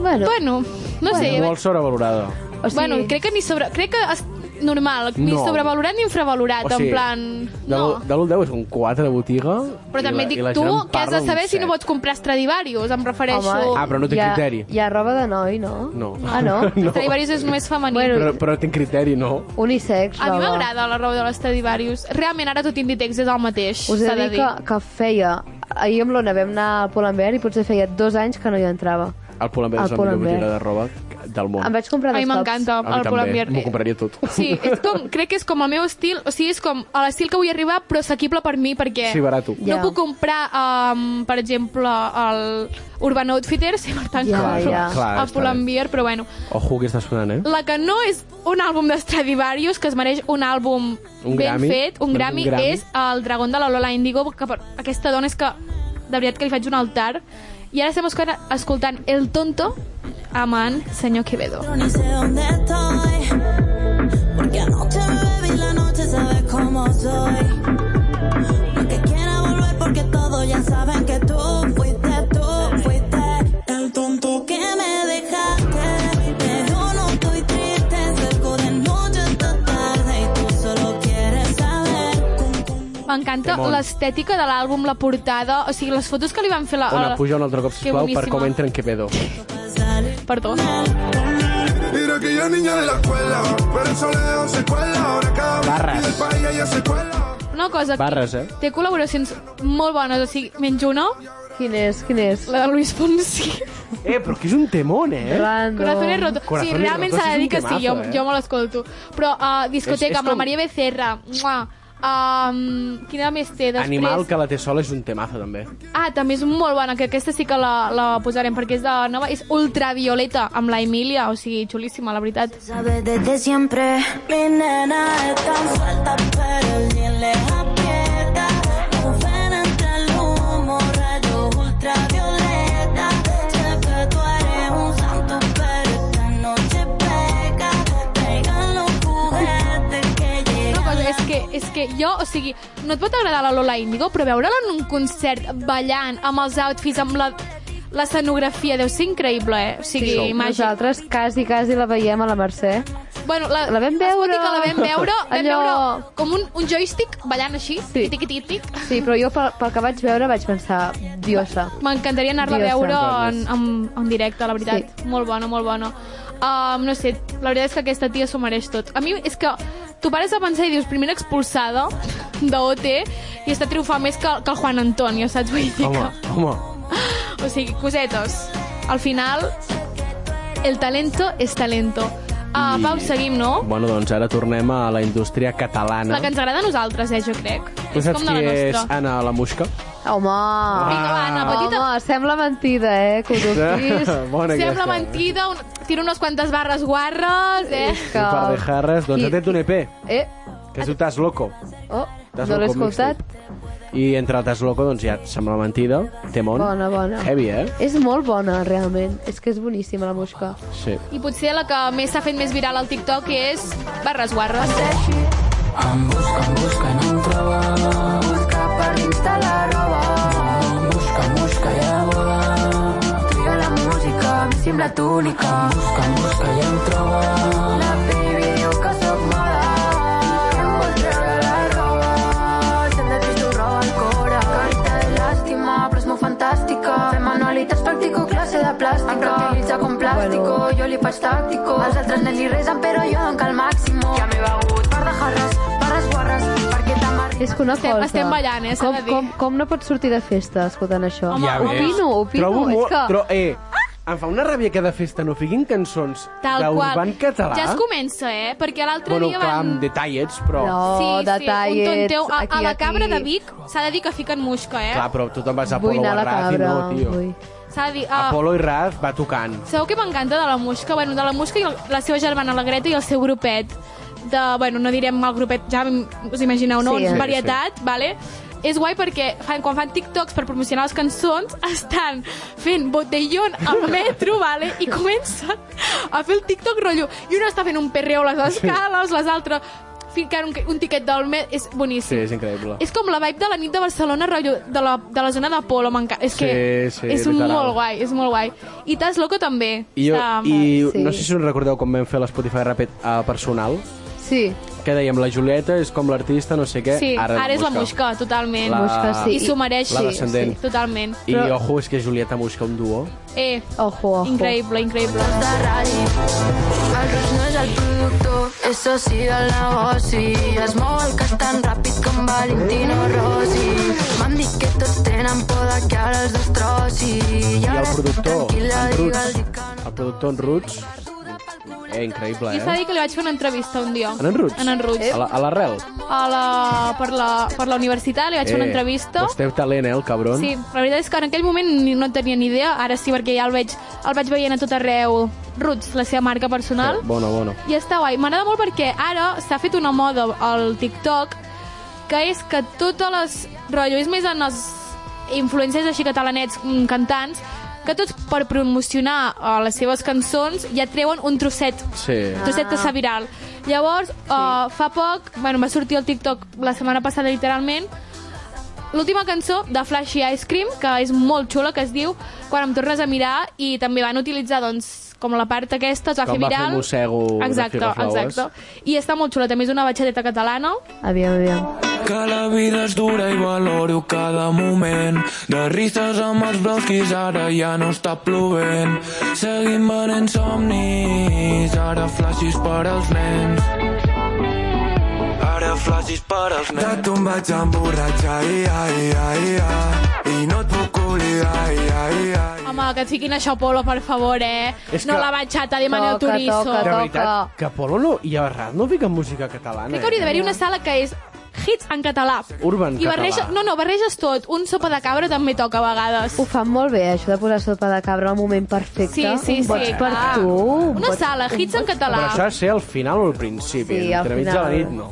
[SPEAKER 5] Bueno,
[SPEAKER 3] Bueno, no sé.
[SPEAKER 4] Molt sobrevalorada.
[SPEAKER 5] o sigui,
[SPEAKER 3] Bueno, crec que ni sobre... Crec que és normal, ni
[SPEAKER 4] No.
[SPEAKER 3] sobrevalorat ni infravalorat,
[SPEAKER 4] O sigui,
[SPEAKER 3] en plan...
[SPEAKER 4] De
[SPEAKER 3] No.
[SPEAKER 4] l'1 al 10 és un 4 de botiga.
[SPEAKER 3] Però
[SPEAKER 4] i la-
[SPEAKER 3] també et
[SPEAKER 4] i
[SPEAKER 3] dic
[SPEAKER 4] la
[SPEAKER 3] tu
[SPEAKER 4] gent en
[SPEAKER 3] que has de
[SPEAKER 4] parla un
[SPEAKER 3] saber si no
[SPEAKER 4] set.
[SPEAKER 3] pots comprar Stradivarius, em refereixo...
[SPEAKER 5] Home,
[SPEAKER 4] Ah, però no té
[SPEAKER 5] hi ha-
[SPEAKER 4] criteri.
[SPEAKER 5] Hi ha roba de noi, no?
[SPEAKER 4] No.
[SPEAKER 5] Ah, no?
[SPEAKER 4] no.
[SPEAKER 3] Stradivarius és només femení.
[SPEAKER 5] Bueno,
[SPEAKER 4] Però, però tinc criteri, no?
[SPEAKER 5] Unisex,
[SPEAKER 3] a mi
[SPEAKER 5] roba.
[SPEAKER 3] m'agrada la roba de l'Estradivarius. Realment, ara tot Inditex és el mateix,
[SPEAKER 5] Us he
[SPEAKER 3] s'ha
[SPEAKER 5] de dir que, que feia... Ahir amb l'Ona vam anar a Pull&Bear i potser feia dos anys que no hi entrava.
[SPEAKER 4] El Pull&Bear és la
[SPEAKER 5] El
[SPEAKER 4] millor
[SPEAKER 5] Pull&Bear.
[SPEAKER 4] botiga de roba del món.
[SPEAKER 5] Em vaig comprar
[SPEAKER 3] A
[SPEAKER 5] dos
[SPEAKER 3] mi m'encanta
[SPEAKER 4] A mi
[SPEAKER 3] el
[SPEAKER 4] també,
[SPEAKER 3] Pull&Bear.
[SPEAKER 4] m'ho compraria tot.
[SPEAKER 3] Sí, és com, crec que és com el meu estil, o sigui, és com a l'estil que vull arribar, però assequible per mi, perquè
[SPEAKER 4] Sí, barato.
[SPEAKER 3] no
[SPEAKER 5] Ja.
[SPEAKER 3] puc comprar, um, per exemple, el Urban Outfitters, i per tant,
[SPEAKER 5] Ja,
[SPEAKER 3] compro
[SPEAKER 5] ja.
[SPEAKER 4] Clar,
[SPEAKER 3] el
[SPEAKER 4] està
[SPEAKER 3] Pull&Bear, però bueno.
[SPEAKER 4] Ojo, que està sonant, eh?
[SPEAKER 3] La que no és un àlbum d'Estradivarius, que es mereix un àlbum
[SPEAKER 4] Un
[SPEAKER 3] ben
[SPEAKER 4] Grammy.
[SPEAKER 3] fet, un
[SPEAKER 4] Doncs un
[SPEAKER 3] Grammy,
[SPEAKER 4] Grammy.
[SPEAKER 3] és el Dragón de la Lola Indigo, que per, aquesta dona és que, de veritat, que li faig un altar. I ara estem escoltant, escoltant El Tonto, amant Senyor Quevedo.
[SPEAKER 8] Yo ni sé dónde estoy. Porque anoche me bebí la noche, sabes cómo soy. No que quiera volver porque todos ya saben que tú fuiste, tú fuiste el tonto que me dejaste. Pero no estoy triste, cerco de noche esta tarde y tú solo quieres saber. con- con-
[SPEAKER 3] M'encanta
[SPEAKER 4] Temón.
[SPEAKER 3] l'estètica de l'àlbum, la portada, o sigui, les fotos que li van fer... La,
[SPEAKER 4] Ona,
[SPEAKER 3] la-
[SPEAKER 4] puja un altre cop,
[SPEAKER 3] Que
[SPEAKER 4] sisplau, per
[SPEAKER 3] boníssima.
[SPEAKER 4] com entra en Quevedo.
[SPEAKER 3] Perdó.
[SPEAKER 2] Mira que yo niña de la escuela, pero eso le da secuela. Ahora cada vez
[SPEAKER 4] Barras.
[SPEAKER 2] que el país ella se cuela.
[SPEAKER 3] Una cosa que
[SPEAKER 4] Barres, eh?
[SPEAKER 3] té col·laboracions molt bones, o sigui, menys una,
[SPEAKER 5] Quin és, quin és?
[SPEAKER 3] la de Luis Fonsi.
[SPEAKER 4] Eh, però que és un temón, eh?
[SPEAKER 5] Random.
[SPEAKER 3] Corazones rotos. Sí,
[SPEAKER 4] Corazones
[SPEAKER 3] realment
[SPEAKER 4] rotos
[SPEAKER 3] s'ha de
[SPEAKER 4] és
[SPEAKER 3] dir
[SPEAKER 4] un
[SPEAKER 3] que sí, jo,
[SPEAKER 4] temazo, eh?
[SPEAKER 3] jo me l'escolto. Però uh, discoteca
[SPEAKER 4] És- és
[SPEAKER 3] amb la
[SPEAKER 4] com-
[SPEAKER 3] Maria Becerra, mua, Um, quina més té després?
[SPEAKER 4] Animal que la té sola és un temazo, també.
[SPEAKER 3] Ah, també és molt bona, que aquesta sí que la, la posarem, perquè és de nova, és ultravioleta, amb la Emília, o sigui, xulíssima, la veritat.
[SPEAKER 8] Sabes desde siempre, mi nena es tan suelta, pero el día les aprieta. Mujer entre el humo, rayos ultravioleta. Sé que tú eres un santo, pero esta noche peca. Pegan los juguetes que
[SPEAKER 3] Una
[SPEAKER 8] llegan.
[SPEAKER 3] cosa, és que, és que jo, o sigui, no et pot agradar la Lola Índigo, però veure-la en un concert ballant, amb els outfits, amb la l'escenografia deu ser increïble, eh? O sigui, sí, imagina't.
[SPEAKER 5] Nosaltres quasi, quasi la veiem a la Mercè.
[SPEAKER 3] Bueno, la,
[SPEAKER 5] La
[SPEAKER 3] es
[SPEAKER 5] vam
[SPEAKER 3] pot dir
[SPEAKER 5] veure.
[SPEAKER 3] Que la vam veure, vam
[SPEAKER 5] Allò-
[SPEAKER 3] veure com un, un joystick ballant així,
[SPEAKER 5] Sí.
[SPEAKER 3] sí. tic, tic, tic, tic.
[SPEAKER 5] Sí, però jo pel, pel que vaig veure vaig pensar, diosa.
[SPEAKER 3] M'encantaria anar-la a
[SPEAKER 5] Diosa.
[SPEAKER 3] veure en, en, en directe, la veritat. Sí. Molt bona, molt bona. Um, no sé, la veritat és que aquesta tia s'ho mereix tot. A mi és que tu pares a pensar i dius primera expulsada d'OT i està triomfant més que, que el Juan Antonio, saps? Vull dir
[SPEAKER 4] Home, home.
[SPEAKER 3] que... O sigui, cosetes. Al final, el talento és talento. Uh,
[SPEAKER 4] I-
[SPEAKER 3] Pau, seguim, no?
[SPEAKER 4] Bueno, doncs ara tornem a la indústria catalana.
[SPEAKER 3] La que ens agrada a nosaltres, eh, jo crec.
[SPEAKER 4] Tu
[SPEAKER 3] és
[SPEAKER 4] saps
[SPEAKER 3] com de
[SPEAKER 4] qui
[SPEAKER 3] la
[SPEAKER 4] és Ah,
[SPEAKER 3] nostra.
[SPEAKER 4] Anna la Musca?
[SPEAKER 5] Home!
[SPEAKER 3] Vinga, va, Anna, petita...
[SPEAKER 5] Home, sembla mentida, eh, que us ho dubtis.
[SPEAKER 4] Bona
[SPEAKER 3] Sembla
[SPEAKER 4] aquesta.
[SPEAKER 3] mentida, un... tira unes quantes barres guarres, eh?
[SPEAKER 4] Un par de jarres. Doncs
[SPEAKER 5] I-
[SPEAKER 4] ha tret un EP,
[SPEAKER 5] Eh,
[SPEAKER 4] que es diu T'has loco.
[SPEAKER 5] oh,
[SPEAKER 4] Das
[SPEAKER 5] No l'he
[SPEAKER 4] Loco
[SPEAKER 5] escoltat.
[SPEAKER 4] Mixtape. I entre el Das Loco, doncs ja et sembla mentida. Temón.
[SPEAKER 5] Bona, bona.
[SPEAKER 4] Heavy, eh?
[SPEAKER 5] És molt bona, realment. És que és boníssima, la mosca.
[SPEAKER 4] Sí.
[SPEAKER 3] I potser la que més s'ha fet més viral al TikTok és Barres Guarres.
[SPEAKER 6] Em busquen, busquen, em troben. Busca per dins la roba. Em busquen, busca, ja volen. Tria la música, em sembla túnica. Em busquen, busca, ja em troben. La baby diu que sóc mala. I em vol treure la roba. Sent de trist, ho roba el cora. Carita de llàstima, però és molt fantàstica. Fem manualitats, practico classe de plàstica. Em reutilitza com plàstico, bueno. jo li faig tàctico. Els altres nens li resen, però jo donc el màximo. Ja m'he begut per de jarres, barres guarres, perquè ta mar...
[SPEAKER 5] És que una
[SPEAKER 3] Estem-
[SPEAKER 5] cosa...
[SPEAKER 3] estem ballant, eh, s'ha
[SPEAKER 5] Com,
[SPEAKER 3] de dir.
[SPEAKER 5] com, com no pots sortir de festa escoltant això?
[SPEAKER 3] Home, Ja home.
[SPEAKER 5] opino, opino.
[SPEAKER 4] Trobo
[SPEAKER 5] és
[SPEAKER 4] molt...
[SPEAKER 5] que...
[SPEAKER 4] Tro... Eh, em fa una ràbia que de festa no fiquin cançons
[SPEAKER 3] Tal
[SPEAKER 4] d'urban
[SPEAKER 3] qual.
[SPEAKER 4] català.
[SPEAKER 3] Ja es comença, eh? Perquè l'altre
[SPEAKER 4] Bueno,
[SPEAKER 3] dia
[SPEAKER 4] clar,
[SPEAKER 3] van...
[SPEAKER 4] amb detallets, però...
[SPEAKER 5] No,
[SPEAKER 3] sí, sí,
[SPEAKER 5] detallets,
[SPEAKER 3] un tonteu. A,
[SPEAKER 5] Oh, aquí,
[SPEAKER 3] a la
[SPEAKER 5] aquí.
[SPEAKER 3] cabra de Vic s'ha de dir que fiquen musca, eh?
[SPEAKER 4] Clar, però tu te'n vas a
[SPEAKER 5] Vull
[SPEAKER 4] Apolo
[SPEAKER 5] anar a la
[SPEAKER 4] Barraz i
[SPEAKER 5] cabra.
[SPEAKER 4] no, tio.
[SPEAKER 5] vull.
[SPEAKER 3] S'ha de dir... ah,
[SPEAKER 4] Apolo i Raz va tocant.
[SPEAKER 3] Sabeu què m'encanta de la Musca? Bueno, de la Musca i el- la seva germana, la Greta, i el seu grupet de... Bueno, no direm el grupet, ja m- us imagineu, no?
[SPEAKER 5] Sí,
[SPEAKER 3] Sí,
[SPEAKER 5] eh?
[SPEAKER 3] varietat, sí, vale? És guai perquè fan, quan fan TikToks per promocionar les cançons estan fent botellón amb metro, vale? I comencen a fer el TikTok rotllo. I una està fent un perreo a les escales, les altres ficant un, un tiquet del metro. És
[SPEAKER 4] Sí,
[SPEAKER 3] boníssim.
[SPEAKER 4] és increïble.
[SPEAKER 3] És com la vibe de la nit de Barcelona, rotllo, de la, de la zona de Polo, m'encanta. És que
[SPEAKER 4] Sí, sí,
[SPEAKER 3] és
[SPEAKER 4] literal.
[SPEAKER 3] molt guai, és molt guai. I Taz Loco també.
[SPEAKER 4] I, jo,
[SPEAKER 3] Està-
[SPEAKER 4] i
[SPEAKER 5] Sí.
[SPEAKER 4] no sé si us recordeu com vam fer l'Spotify Rapid uh, personal,
[SPEAKER 5] Sí,
[SPEAKER 4] que dèiem la Julieta és com l'artista, no sé què,
[SPEAKER 3] sí, ara,
[SPEAKER 4] ara,
[SPEAKER 3] és la Musca, totalment.
[SPEAKER 4] La-
[SPEAKER 5] Mosca, sí.
[SPEAKER 3] I s'ho mereix.
[SPEAKER 4] la descendent.
[SPEAKER 3] Sí, totalment.
[SPEAKER 4] I ojo, és que Julieta Musca un duo.
[SPEAKER 3] Eh,
[SPEAKER 5] ojo, ojo.
[SPEAKER 3] increïble, increïble.
[SPEAKER 6] de ratll. El ros no és el productor, és soci del negoci. Es mou el cas tan ràpid com Valentino Rossi. M'han dit que tots tenen por de que ara els destrossi. I
[SPEAKER 4] I el
[SPEAKER 6] ara estic
[SPEAKER 4] productor,
[SPEAKER 6] tranquil·la,
[SPEAKER 4] en Roots,
[SPEAKER 6] digue'l-li que no.
[SPEAKER 4] el productor en Roots, eh, increïble,
[SPEAKER 3] I s'ha de
[SPEAKER 4] eh?
[SPEAKER 3] dir que li vaig fer una entrevista un dia.
[SPEAKER 4] En en Roots?
[SPEAKER 3] En en Ruts.
[SPEAKER 4] A la- A l'arrel?
[SPEAKER 3] A la, per, la, per la universitat li vaig fer una entrevista.
[SPEAKER 4] Vostè talent, eh, el cabron?
[SPEAKER 3] Sí, la veritat és que en aquell moment ni- no en tenia ni idea, ara sí, perquè ja el veig, el vaig veient a tot arreu. Roots, la seva marca personal.
[SPEAKER 4] Eh, Bona, bona.
[SPEAKER 3] I està guai. M'agrada molt perquè ara s'ha fet una moda al TikTok que és que totes les... Rotllo, és més en els influencers així catalanets mm, cantants que tots per promocionar uh, les seves cançons ja treuen un trosset
[SPEAKER 4] Sí.
[SPEAKER 3] trosset
[SPEAKER 5] Ah.
[SPEAKER 3] que s'ha viral. Llavors, uh, fa poc, bueno, va sortir el TikTok la setmana passada literalment, l'última cançó de Flashy Ice Cream, que és molt xula, que es diu Quan em tornes a mirar, i també van utilitzar, doncs, com la part aquesta, es va
[SPEAKER 4] Com
[SPEAKER 3] fer
[SPEAKER 4] va fer
[SPEAKER 3] viral.
[SPEAKER 4] Mossego de
[SPEAKER 3] exacte,
[SPEAKER 4] Figaflaues.
[SPEAKER 3] exacte. I està molt xula, també és una batxateta catalana.
[SPEAKER 5] Aviam, aviam.
[SPEAKER 7] Que la vida és dura i valoro cada moment. De risques amb els bronquis ara ja no està plovent. Seguim venent somnis, ara flashis per als nens. Ara flashis per als nens. De tu em vaig emborratxar, i, ai, ai, ai, i no et puc oblidar, ai, ai, ai.
[SPEAKER 3] Home, que et fiquin això, Polo, per favor, eh?
[SPEAKER 4] És
[SPEAKER 3] no
[SPEAKER 4] que-
[SPEAKER 3] la batxata de Manel
[SPEAKER 5] Toca,
[SPEAKER 3] Turizo.
[SPEAKER 5] toca,
[SPEAKER 4] De
[SPEAKER 5] toca.
[SPEAKER 4] veritat, que Polo no, i Arrat no fiquen música catalana. eh?
[SPEAKER 3] Crec que hauria d'haver-hi una sala que és hits en català.
[SPEAKER 4] Urban
[SPEAKER 3] I barreja,
[SPEAKER 4] català.
[SPEAKER 3] No, no, barreges tot. Un sopa de cabra també toca a vegades.
[SPEAKER 5] Ho fan molt bé, això de posar sopa de cabra al moment perfecte.
[SPEAKER 3] Sí, sí,
[SPEAKER 5] un boig
[SPEAKER 3] sí,
[SPEAKER 5] per
[SPEAKER 3] clar.
[SPEAKER 5] tu. un
[SPEAKER 3] Una
[SPEAKER 5] boig-
[SPEAKER 3] sala, hits en
[SPEAKER 4] Però
[SPEAKER 3] català.
[SPEAKER 4] això ha de ser al final o al principi,
[SPEAKER 5] Sí, al
[SPEAKER 4] entre mig de la
[SPEAKER 5] final.
[SPEAKER 4] nit no.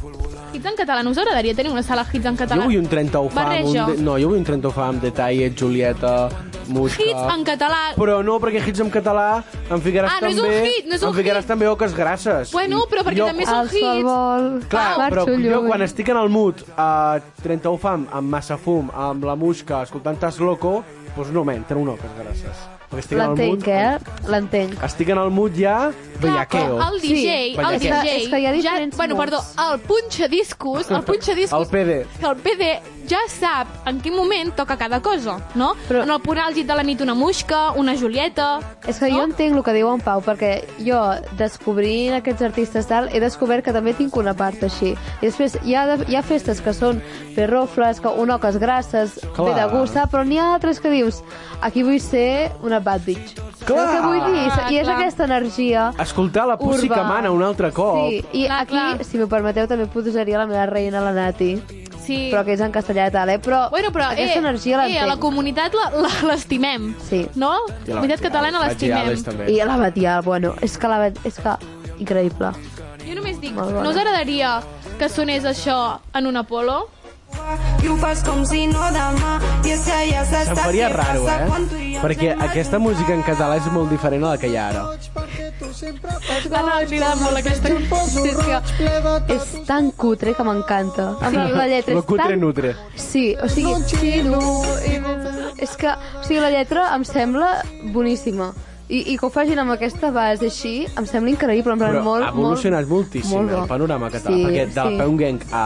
[SPEAKER 3] Hits en català. No us agradaria tenir una sala hits en
[SPEAKER 4] Jo
[SPEAKER 3] català?
[SPEAKER 4] vull un 30 ho fa amb un...
[SPEAKER 3] Barreja.
[SPEAKER 4] De... No, jo vull un 30 ho fa amb detall, Julieta, Musca...
[SPEAKER 3] Hits en català.
[SPEAKER 4] Però no, perquè hits en català em ficaràs
[SPEAKER 3] Ah, no és
[SPEAKER 4] també...
[SPEAKER 3] un hit, no és
[SPEAKER 4] em
[SPEAKER 3] un
[SPEAKER 4] ficaràs
[SPEAKER 3] hit.
[SPEAKER 4] també oques grasses.
[SPEAKER 3] Bueno,
[SPEAKER 4] I
[SPEAKER 3] però perquè
[SPEAKER 4] jo,
[SPEAKER 3] també és
[SPEAKER 5] El
[SPEAKER 3] un
[SPEAKER 5] sol
[SPEAKER 3] hit.
[SPEAKER 5] vol...
[SPEAKER 4] Clar, però
[SPEAKER 5] marxo
[SPEAKER 4] jo
[SPEAKER 5] lluny.
[SPEAKER 4] quan estic en el mood a 31 fam, amb massa fum, amb la musca, escoltant Tas Loco, doncs no m'entra una oques grasses. Perquè estic en el mood...
[SPEAKER 5] L'entenc, eh? L'entenc.
[SPEAKER 4] Estic en el mood ja bellaqueo.
[SPEAKER 3] El DJ,
[SPEAKER 5] Sí,
[SPEAKER 3] el
[SPEAKER 4] Bellaqueo.
[SPEAKER 3] DJ,
[SPEAKER 5] És que hi ha diferents
[SPEAKER 3] bueno,
[SPEAKER 5] modes.
[SPEAKER 3] perdó, el punxa discos, el punxa discos,
[SPEAKER 4] El PD.
[SPEAKER 3] el PD ja sap en quin moment toca cada cosa, no?
[SPEAKER 5] Però-
[SPEAKER 3] En el punt àlgid de la nit una musca, una julieta...
[SPEAKER 5] És que jo entenc el que diu en Pau, perquè jo, descobrint aquests artistes tal, he descobert que també tinc una part així. I després hi ha, de, hi ha festes que són perrofles, que unoques grasses,
[SPEAKER 4] Clar.
[SPEAKER 5] Clar. ve de gust, tal, però n'hi ha altres que dius, aquí vull ser una bad bitch.
[SPEAKER 4] Clar.
[SPEAKER 5] És el que vull dir,
[SPEAKER 3] Ah,
[SPEAKER 5] i és
[SPEAKER 3] clar.
[SPEAKER 5] aquesta energia...
[SPEAKER 4] Escoltar la Pussy
[SPEAKER 5] Urba.
[SPEAKER 4] que mana un altre cop.
[SPEAKER 5] Sí, i
[SPEAKER 3] Clar,
[SPEAKER 5] aquí,
[SPEAKER 3] clar.
[SPEAKER 5] si m'ho permeteu, també posaria la meva reina, la Nati,
[SPEAKER 3] Sí.
[SPEAKER 5] però que és en castellà i tal, eh? Però,
[SPEAKER 3] Bueno, però
[SPEAKER 5] aquesta
[SPEAKER 3] eh,
[SPEAKER 5] energia
[SPEAKER 3] eh, a la
[SPEAKER 5] l'entenc.
[SPEAKER 3] comunitat la- la- l'estimem,
[SPEAKER 5] Sí.
[SPEAKER 3] no?
[SPEAKER 4] I
[SPEAKER 3] La comunitat catalana
[SPEAKER 4] la
[SPEAKER 3] l'estimem.
[SPEAKER 4] Giades, també.
[SPEAKER 5] I la Batial, bueno, és que la Bat- és que increïble.
[SPEAKER 3] Jo només dic,
[SPEAKER 5] Molt bona.
[SPEAKER 3] no us agradaria que sonés això en un Apolo?
[SPEAKER 9] i ho fas com si no demà i és que ja
[SPEAKER 4] Em
[SPEAKER 9] s'està
[SPEAKER 4] faria
[SPEAKER 9] què
[SPEAKER 4] raro,
[SPEAKER 9] passa quan tu i
[SPEAKER 4] eh?
[SPEAKER 9] jo
[SPEAKER 4] Perquè
[SPEAKER 9] anem a
[SPEAKER 4] aquesta música en català és molt diferent a la que hi ha ara.
[SPEAKER 3] La no, li agrada molt aquesta.
[SPEAKER 5] Sí, és que és tan cutre que m'encanta. Sí, la lletra
[SPEAKER 4] Lo
[SPEAKER 5] és
[SPEAKER 4] cutre
[SPEAKER 5] tan...
[SPEAKER 4] nutre.
[SPEAKER 5] Sí, o sigui, xino... i- És que, o sigui, la lletra em sembla boníssima. I, i que ho facin amb aquesta base així, em sembla increïble, en plan,
[SPEAKER 4] Però
[SPEAKER 5] molt,
[SPEAKER 4] ha evolucionat
[SPEAKER 5] molt,
[SPEAKER 4] moltíssim
[SPEAKER 5] molt bo.
[SPEAKER 4] el panorama català,
[SPEAKER 5] Sí,
[SPEAKER 4] perquè del
[SPEAKER 5] sí.
[SPEAKER 4] Peu Gang a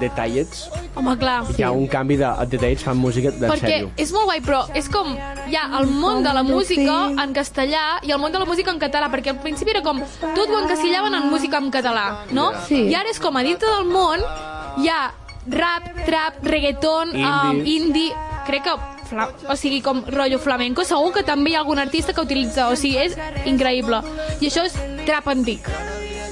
[SPEAKER 4] The Tallets
[SPEAKER 3] Home, clar.
[SPEAKER 4] hi ha un canvi de The Tallets fan música de
[SPEAKER 3] perquè
[SPEAKER 4] sèrio.
[SPEAKER 3] és molt guai, però és com hi ha el món de la música en castellà i el món de la música en català, perquè al principi era com tot ho encasillaven en música en català, no?
[SPEAKER 5] Sí.
[SPEAKER 3] I ara és com a dintre del món hi ha rap, trap, reggaeton, um,
[SPEAKER 4] Indie.
[SPEAKER 3] indie, crec que fla- o sigui, com rotllo flamenco, segur que també hi ha algun artista que utilitza, o sigui, és increïble. I això és trap antic.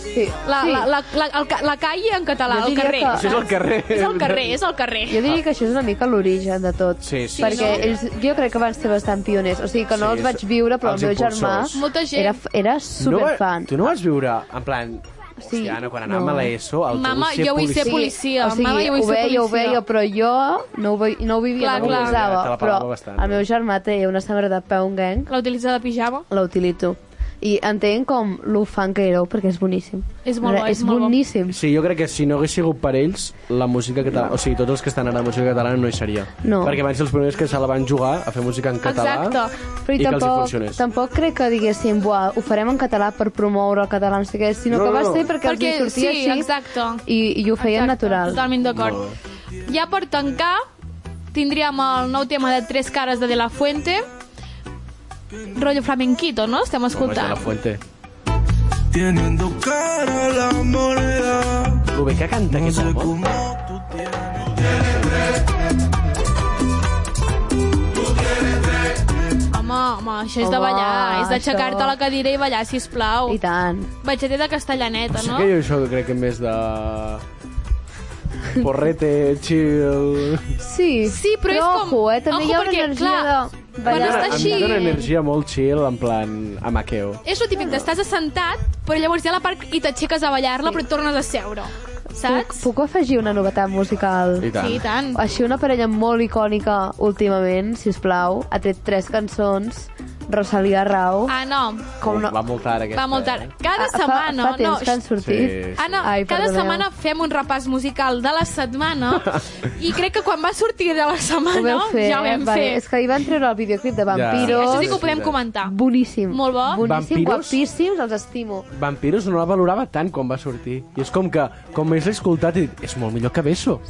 [SPEAKER 5] Sí.
[SPEAKER 3] La,
[SPEAKER 5] sí.
[SPEAKER 3] la, la, la, el ca- la calle en català,
[SPEAKER 5] Jo
[SPEAKER 3] el
[SPEAKER 5] diria
[SPEAKER 3] carrer.
[SPEAKER 5] que-
[SPEAKER 4] Això és el carrer.
[SPEAKER 3] És el carrer, és el carrer.
[SPEAKER 5] Jo diria que això és una mica l'origen de tot.
[SPEAKER 4] Sí, sí,
[SPEAKER 5] perquè
[SPEAKER 4] sí.
[SPEAKER 5] ells, jo crec que van ser bastant pioners. O sigui, que no
[SPEAKER 4] Sí,
[SPEAKER 5] els vaig viure, però
[SPEAKER 4] els
[SPEAKER 5] el meu germà
[SPEAKER 4] impulsors.
[SPEAKER 3] Molta gent.
[SPEAKER 5] era, era
[SPEAKER 4] va,
[SPEAKER 5] superfan.
[SPEAKER 4] tu no vas viure, en plan,
[SPEAKER 5] Sí,
[SPEAKER 4] hòstia, Anna, quan
[SPEAKER 5] no.
[SPEAKER 4] anàvem a l'ESO, el
[SPEAKER 3] Mama, jo vull ser policia.
[SPEAKER 5] o sigui,
[SPEAKER 3] Mama, jo vull
[SPEAKER 5] ho
[SPEAKER 3] ser
[SPEAKER 5] veia, ho
[SPEAKER 3] policia.
[SPEAKER 5] veia, però jo no ho, veia, no ho vivia,
[SPEAKER 3] Clar,
[SPEAKER 5] no ho
[SPEAKER 3] clar.
[SPEAKER 4] Ja, te
[SPEAKER 5] usava.
[SPEAKER 4] la
[SPEAKER 5] però
[SPEAKER 4] pelava bastant, eh?
[SPEAKER 5] el meu germà té una samarra de peu un gang,
[SPEAKER 3] La utilitza de pijama.
[SPEAKER 5] la utilitzo. I entenc com lo fan que éreu, perquè és boníssim.
[SPEAKER 3] És molt bo,
[SPEAKER 5] Re-
[SPEAKER 3] és molt bo.
[SPEAKER 5] boníssim.
[SPEAKER 4] Sí, jo crec que si no hagués sigut per ells, la música catalana, o sigui, tots els que estan ara a la música catalana no hi seria.
[SPEAKER 5] No.
[SPEAKER 4] Perquè van ser els primers que se la van jugar a fer música en català
[SPEAKER 3] Exacte.
[SPEAKER 5] Però
[SPEAKER 4] i
[SPEAKER 5] i
[SPEAKER 4] que els hi
[SPEAKER 5] tampoc,
[SPEAKER 4] funcionés.
[SPEAKER 5] tampoc crec que diguéssim, buah, ho farem en català per promoure el català, no sé què, sinó
[SPEAKER 4] No,
[SPEAKER 5] que
[SPEAKER 4] no,
[SPEAKER 5] va
[SPEAKER 4] no.
[SPEAKER 5] ser perquè,
[SPEAKER 3] Perquè,
[SPEAKER 5] els hi
[SPEAKER 3] sí,
[SPEAKER 5] sortia així
[SPEAKER 3] exacte.
[SPEAKER 5] I, i ho feien
[SPEAKER 3] Exacte,
[SPEAKER 5] natural.
[SPEAKER 3] Totalment d'acord. Ja per tancar, tindríem el nou tema de Tres cares de De La Fuente. Rollo flamenquito, no? Estem
[SPEAKER 4] Home, és de
[SPEAKER 3] escoltant.
[SPEAKER 4] la fuente.
[SPEAKER 6] Teniendo cara a la moneda,
[SPEAKER 4] Lo bé que canta
[SPEAKER 6] no
[SPEAKER 4] aquest
[SPEAKER 6] sé
[SPEAKER 4] home.
[SPEAKER 6] cómo tú tienes.
[SPEAKER 3] Home, home, això és de
[SPEAKER 5] Home,
[SPEAKER 3] ballar. és d'aixecar-te
[SPEAKER 5] això.
[SPEAKER 3] a la cadira i ballar, sisplau.
[SPEAKER 5] I tant.
[SPEAKER 3] Batxeter de castellaneta,
[SPEAKER 4] Sí
[SPEAKER 3] no?
[SPEAKER 4] que jo això crec que més de... Porrete, chill...
[SPEAKER 5] Sí,
[SPEAKER 3] Sí, però és com-
[SPEAKER 5] ojo, eh? També
[SPEAKER 3] ojo,
[SPEAKER 5] hi ha una
[SPEAKER 3] perquè,
[SPEAKER 5] energia
[SPEAKER 3] clar,
[SPEAKER 5] de
[SPEAKER 3] quan
[SPEAKER 5] ballar.
[SPEAKER 3] estàs
[SPEAKER 4] Em
[SPEAKER 3] així-
[SPEAKER 4] dóna energia molt chill, en plan, a maqueo.
[SPEAKER 3] És el típic d'estàs assentat, però llavors ja la part i t'aixeques a ballar-la, però tornes a seure.
[SPEAKER 5] Puc,
[SPEAKER 3] Saps?
[SPEAKER 5] puc afegir una novetat musical?
[SPEAKER 4] I tant.
[SPEAKER 3] Sí, i tant.
[SPEAKER 5] Així una parella molt icònica últimament, si us plau, ha tret tres cançons, Rosalía Rau.
[SPEAKER 3] Ah, no.
[SPEAKER 5] com no...
[SPEAKER 4] Va molt tard, aquesta.
[SPEAKER 3] Va molt tard.
[SPEAKER 4] Eh?
[SPEAKER 3] Cada
[SPEAKER 5] Ah,
[SPEAKER 3] setmana...
[SPEAKER 5] Fa, fa temps
[SPEAKER 3] no,
[SPEAKER 5] que han sortit.
[SPEAKER 4] Sí.
[SPEAKER 3] Anna,
[SPEAKER 5] Ai,
[SPEAKER 3] cada
[SPEAKER 5] perdoneu.
[SPEAKER 3] setmana fem un repàs musical de la setmana i crec que quan va sortir de la
[SPEAKER 5] Ho
[SPEAKER 3] setmana
[SPEAKER 5] vau fer,
[SPEAKER 3] ja ho vam
[SPEAKER 5] eh? Vale,
[SPEAKER 3] fer.
[SPEAKER 5] És que hi van treure el videoclip de Vampiros.
[SPEAKER 3] Això sí
[SPEAKER 4] és
[SPEAKER 3] que ho podem
[SPEAKER 4] veritat.
[SPEAKER 3] comentar.
[SPEAKER 5] Boníssim.
[SPEAKER 3] Molt bo.
[SPEAKER 5] Boníssim,
[SPEAKER 4] Vampiros?
[SPEAKER 5] guapíssims, els estimo.
[SPEAKER 4] Vampiros no la valorava tant quan va sortir. I és com que, com més l'he escoltat, he dit, és molt millor que Beso.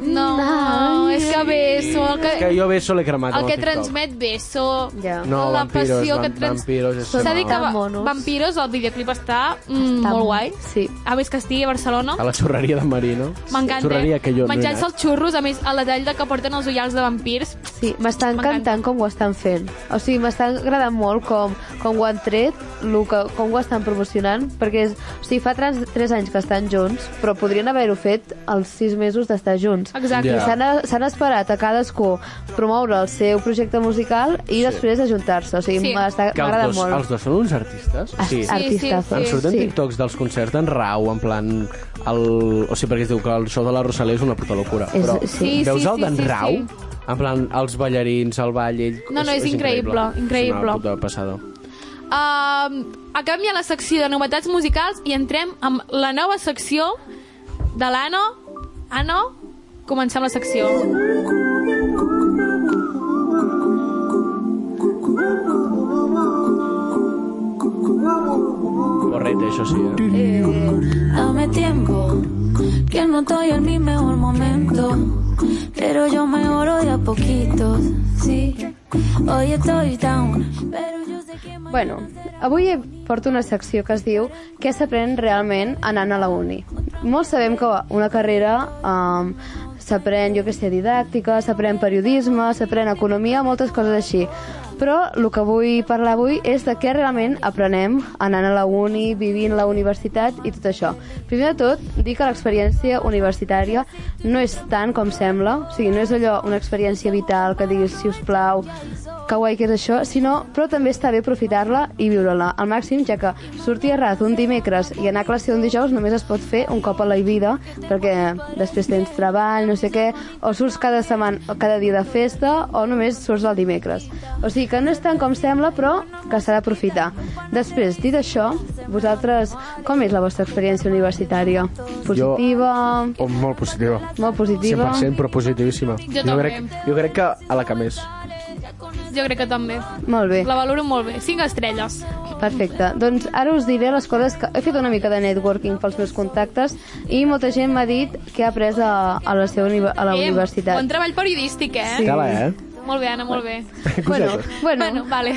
[SPEAKER 3] No, no, és que beso, el
[SPEAKER 4] És que
[SPEAKER 3] que,
[SPEAKER 4] jo Beso l'he cremat
[SPEAKER 3] el
[SPEAKER 4] amb
[SPEAKER 3] que
[SPEAKER 4] TikTok.
[SPEAKER 3] transmet beso,
[SPEAKER 5] Ja.
[SPEAKER 4] No,
[SPEAKER 3] la
[SPEAKER 4] Vampiros,
[SPEAKER 3] passió
[SPEAKER 4] vam-
[SPEAKER 3] que trans...
[SPEAKER 4] Vampiros és
[SPEAKER 3] S'ha dit
[SPEAKER 4] molt-
[SPEAKER 3] que va...
[SPEAKER 5] Tan monos.
[SPEAKER 3] Vampiros, el videoclip està, mm,
[SPEAKER 5] Està
[SPEAKER 3] molt
[SPEAKER 5] molt-
[SPEAKER 3] guai.
[SPEAKER 5] sí.
[SPEAKER 3] A més que estigui a Barcelona.
[SPEAKER 4] A la xorreria de Marino.
[SPEAKER 3] M'encanta. eh?
[SPEAKER 4] Xorreria que jo
[SPEAKER 3] Menjant-se
[SPEAKER 4] no he
[SPEAKER 3] els xurros, a més, el detall de que porten els ullals de vampirs.
[SPEAKER 5] Sí, m'està
[SPEAKER 3] M'encanta.
[SPEAKER 5] encantant com ho estan fent. O sigui, m'està agradant molt com, com ho han tret, lo que, com ho estan promocionant, perquè és, o sigui, fa 3, 3 anys que estan junts, però podrien haver-ho fet els 6 mesos d'estar junts.
[SPEAKER 3] Exacte.
[SPEAKER 5] I
[SPEAKER 4] Ja.
[SPEAKER 5] s'han- S'han esperat a cadascú promoure el seu projecte musical i després ajuntar-se. O sigui,
[SPEAKER 3] Sí.
[SPEAKER 5] sí. m'està
[SPEAKER 4] Que els
[SPEAKER 5] m'agrada
[SPEAKER 4] dos,
[SPEAKER 5] molt.
[SPEAKER 4] els dos són uns artistes. O sigui,
[SPEAKER 5] Sí, Artista.
[SPEAKER 3] Sí,
[SPEAKER 4] Em
[SPEAKER 3] sí,
[SPEAKER 4] surten TikToks dels concerts d'en Rau, en plan... El... O sigui, perquè es diu que el show de la Rosalía és una puta locura.
[SPEAKER 5] És-
[SPEAKER 4] Però
[SPEAKER 5] sí.
[SPEAKER 4] veus
[SPEAKER 3] Sí, sí,
[SPEAKER 4] el d'en
[SPEAKER 3] sí,
[SPEAKER 4] Rau?
[SPEAKER 3] sí.
[SPEAKER 4] En plan, els ballarins, el ball, ell...
[SPEAKER 3] No, no, és increïble,
[SPEAKER 4] És
[SPEAKER 3] increïble.
[SPEAKER 4] una puta passada.
[SPEAKER 3] Uh, acabem ja la secció de novetats musicals i entrem amb la nova secció de l'Ano. Ano, comencem la secció.
[SPEAKER 4] Correcte, això sí, eh?
[SPEAKER 8] Dame tiempo, que no estoy en mi mejor momento. Pero yo mejoro de a poquitos, sí. Hoy estoy down, pero yo sé que mañana
[SPEAKER 5] Bueno,
[SPEAKER 8] será
[SPEAKER 5] avui porto una secció que es diu què s'aprèn realment anant a la uni. Molts sabem que una carrera um, s'aprèn, jo què sé, didàctica, s'aprèn periodisme, s'aprèn economia, moltes coses així. Però el que vull parlar avui és de què realment aprenem anant a la uni, vivint la universitat i tot això. Primer de tot, dir que l'experiència universitària no és tant com sembla, o sigui, no és allò una experiència vital que diguis, si us plau, que guai que és això, sinó, però també està bé aprofitar-la i viure-la al màxim, ja que sortir a raz un dimecres i anar a classe un dijous només es pot fer un cop a la vida, perquè després tens treball, no sé què, o surts cada setmana, o cada dia de festa, o només surts el dimecres. O sigui que no és tant com sembla, però que s'ha d'aprofitar. Després, dit això, vosaltres, com és la vostra experiència universitària? Positiva?
[SPEAKER 4] Oh, molt positiva.
[SPEAKER 5] Molt positiva?
[SPEAKER 4] 100% però positivíssima.
[SPEAKER 3] Jo també.
[SPEAKER 4] crec, jo crec que a la que més.
[SPEAKER 3] Jo crec que també.
[SPEAKER 5] Molt bé.
[SPEAKER 3] La valoro molt bé. 5 estrelles.
[SPEAKER 5] Perfecte. Doncs ara us diré les coses que... He fet una mica de networking pels meus contactes i molta gent m'ha dit que ha après a, a la seva univa- a la
[SPEAKER 3] Em,
[SPEAKER 5] universitat.
[SPEAKER 3] Bon treball periodístic, eh?
[SPEAKER 5] Sí.
[SPEAKER 4] Cala, eh?
[SPEAKER 3] Molt bé, Anna, molt bé.
[SPEAKER 5] Bueno, bueno,
[SPEAKER 3] Bueno, vale.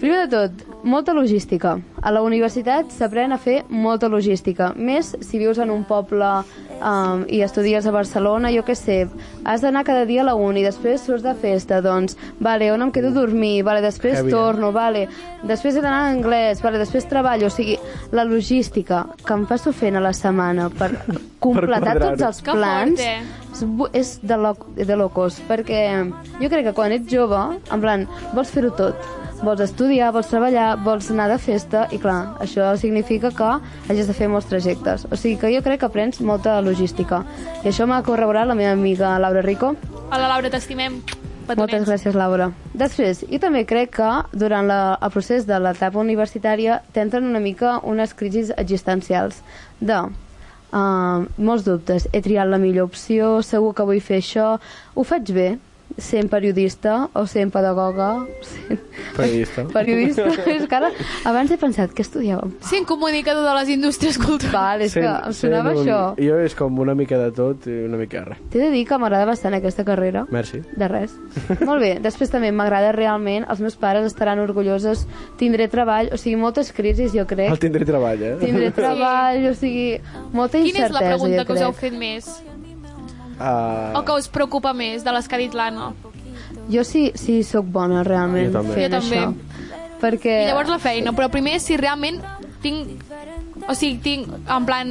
[SPEAKER 5] primer de tot, molta logística. A la universitat s'aprèn a fer molta logística. Més si vius en un poble um, i estudies a Barcelona, jo què sé, has d'anar cada dia a la uni, després surts de festa, doncs, vale, on em quedo a dormir, vale, després
[SPEAKER 4] Heavy, eh?
[SPEAKER 5] torno, vale, després he d'anar a anglès, vale, després treballo, o sigui, la logística que em passo fent a la setmana per completar
[SPEAKER 4] quadrar-ho.
[SPEAKER 5] tots els
[SPEAKER 3] Que
[SPEAKER 5] plans...
[SPEAKER 3] fort, eh?
[SPEAKER 5] és, bu- és de, lo, de locos, perquè jo crec que quan ets jove, en plan, vols fer-ho tot. Vols estudiar, vols treballar, vols anar de festa, i clar, això significa que hagis de fer molts trajectes. O sigui que jo crec que aprens molta logística. I això m'ha corroborat la meva amiga Laura Rico,
[SPEAKER 3] Hola, Laura, t'estimem.
[SPEAKER 5] moltes gràcies, Laura. Després, jo també crec que durant la, el procés de l'etapa universitària t'entren una mica unes crisis existencials de uh, molts dubtes. He triat la millor opció, segur que vull fer això, ho faig bé, sent periodista o sent pedagoga, sent
[SPEAKER 4] Periodista.
[SPEAKER 5] periodista. és que ara, abans he pensat que estudiàvem.
[SPEAKER 3] Sent comunicador de les indústries culturals.
[SPEAKER 5] Val, és que em sonava
[SPEAKER 4] un,
[SPEAKER 5] això.
[SPEAKER 4] Jo és com una mica de tot i una mica de res.
[SPEAKER 5] T'he de dir que m'agrada bastant aquesta carrera.
[SPEAKER 4] Merci.
[SPEAKER 5] De res. Molt bé, després també m'agrada realment, els meus pares estaran orgullosos, tindré treball, o sigui, moltes crisis, jo crec.
[SPEAKER 4] El tindré treball, eh?
[SPEAKER 5] Tindré treball, o sigui, molta
[SPEAKER 3] Quina és la
[SPEAKER 5] incertesa,
[SPEAKER 3] pregunta
[SPEAKER 5] jo
[SPEAKER 3] que us heu
[SPEAKER 5] crec.
[SPEAKER 3] fet més?
[SPEAKER 4] Uh,
[SPEAKER 3] O que us preocupa més de les que ha dit l'Anna?
[SPEAKER 5] Jo sí, sí sóc bona, realment,
[SPEAKER 4] Jo també.
[SPEAKER 5] fent
[SPEAKER 3] Jo també.
[SPEAKER 5] això. Perquè...
[SPEAKER 3] I llavors la feina, però primer si realment tinc... O sigui, tinc, en plan,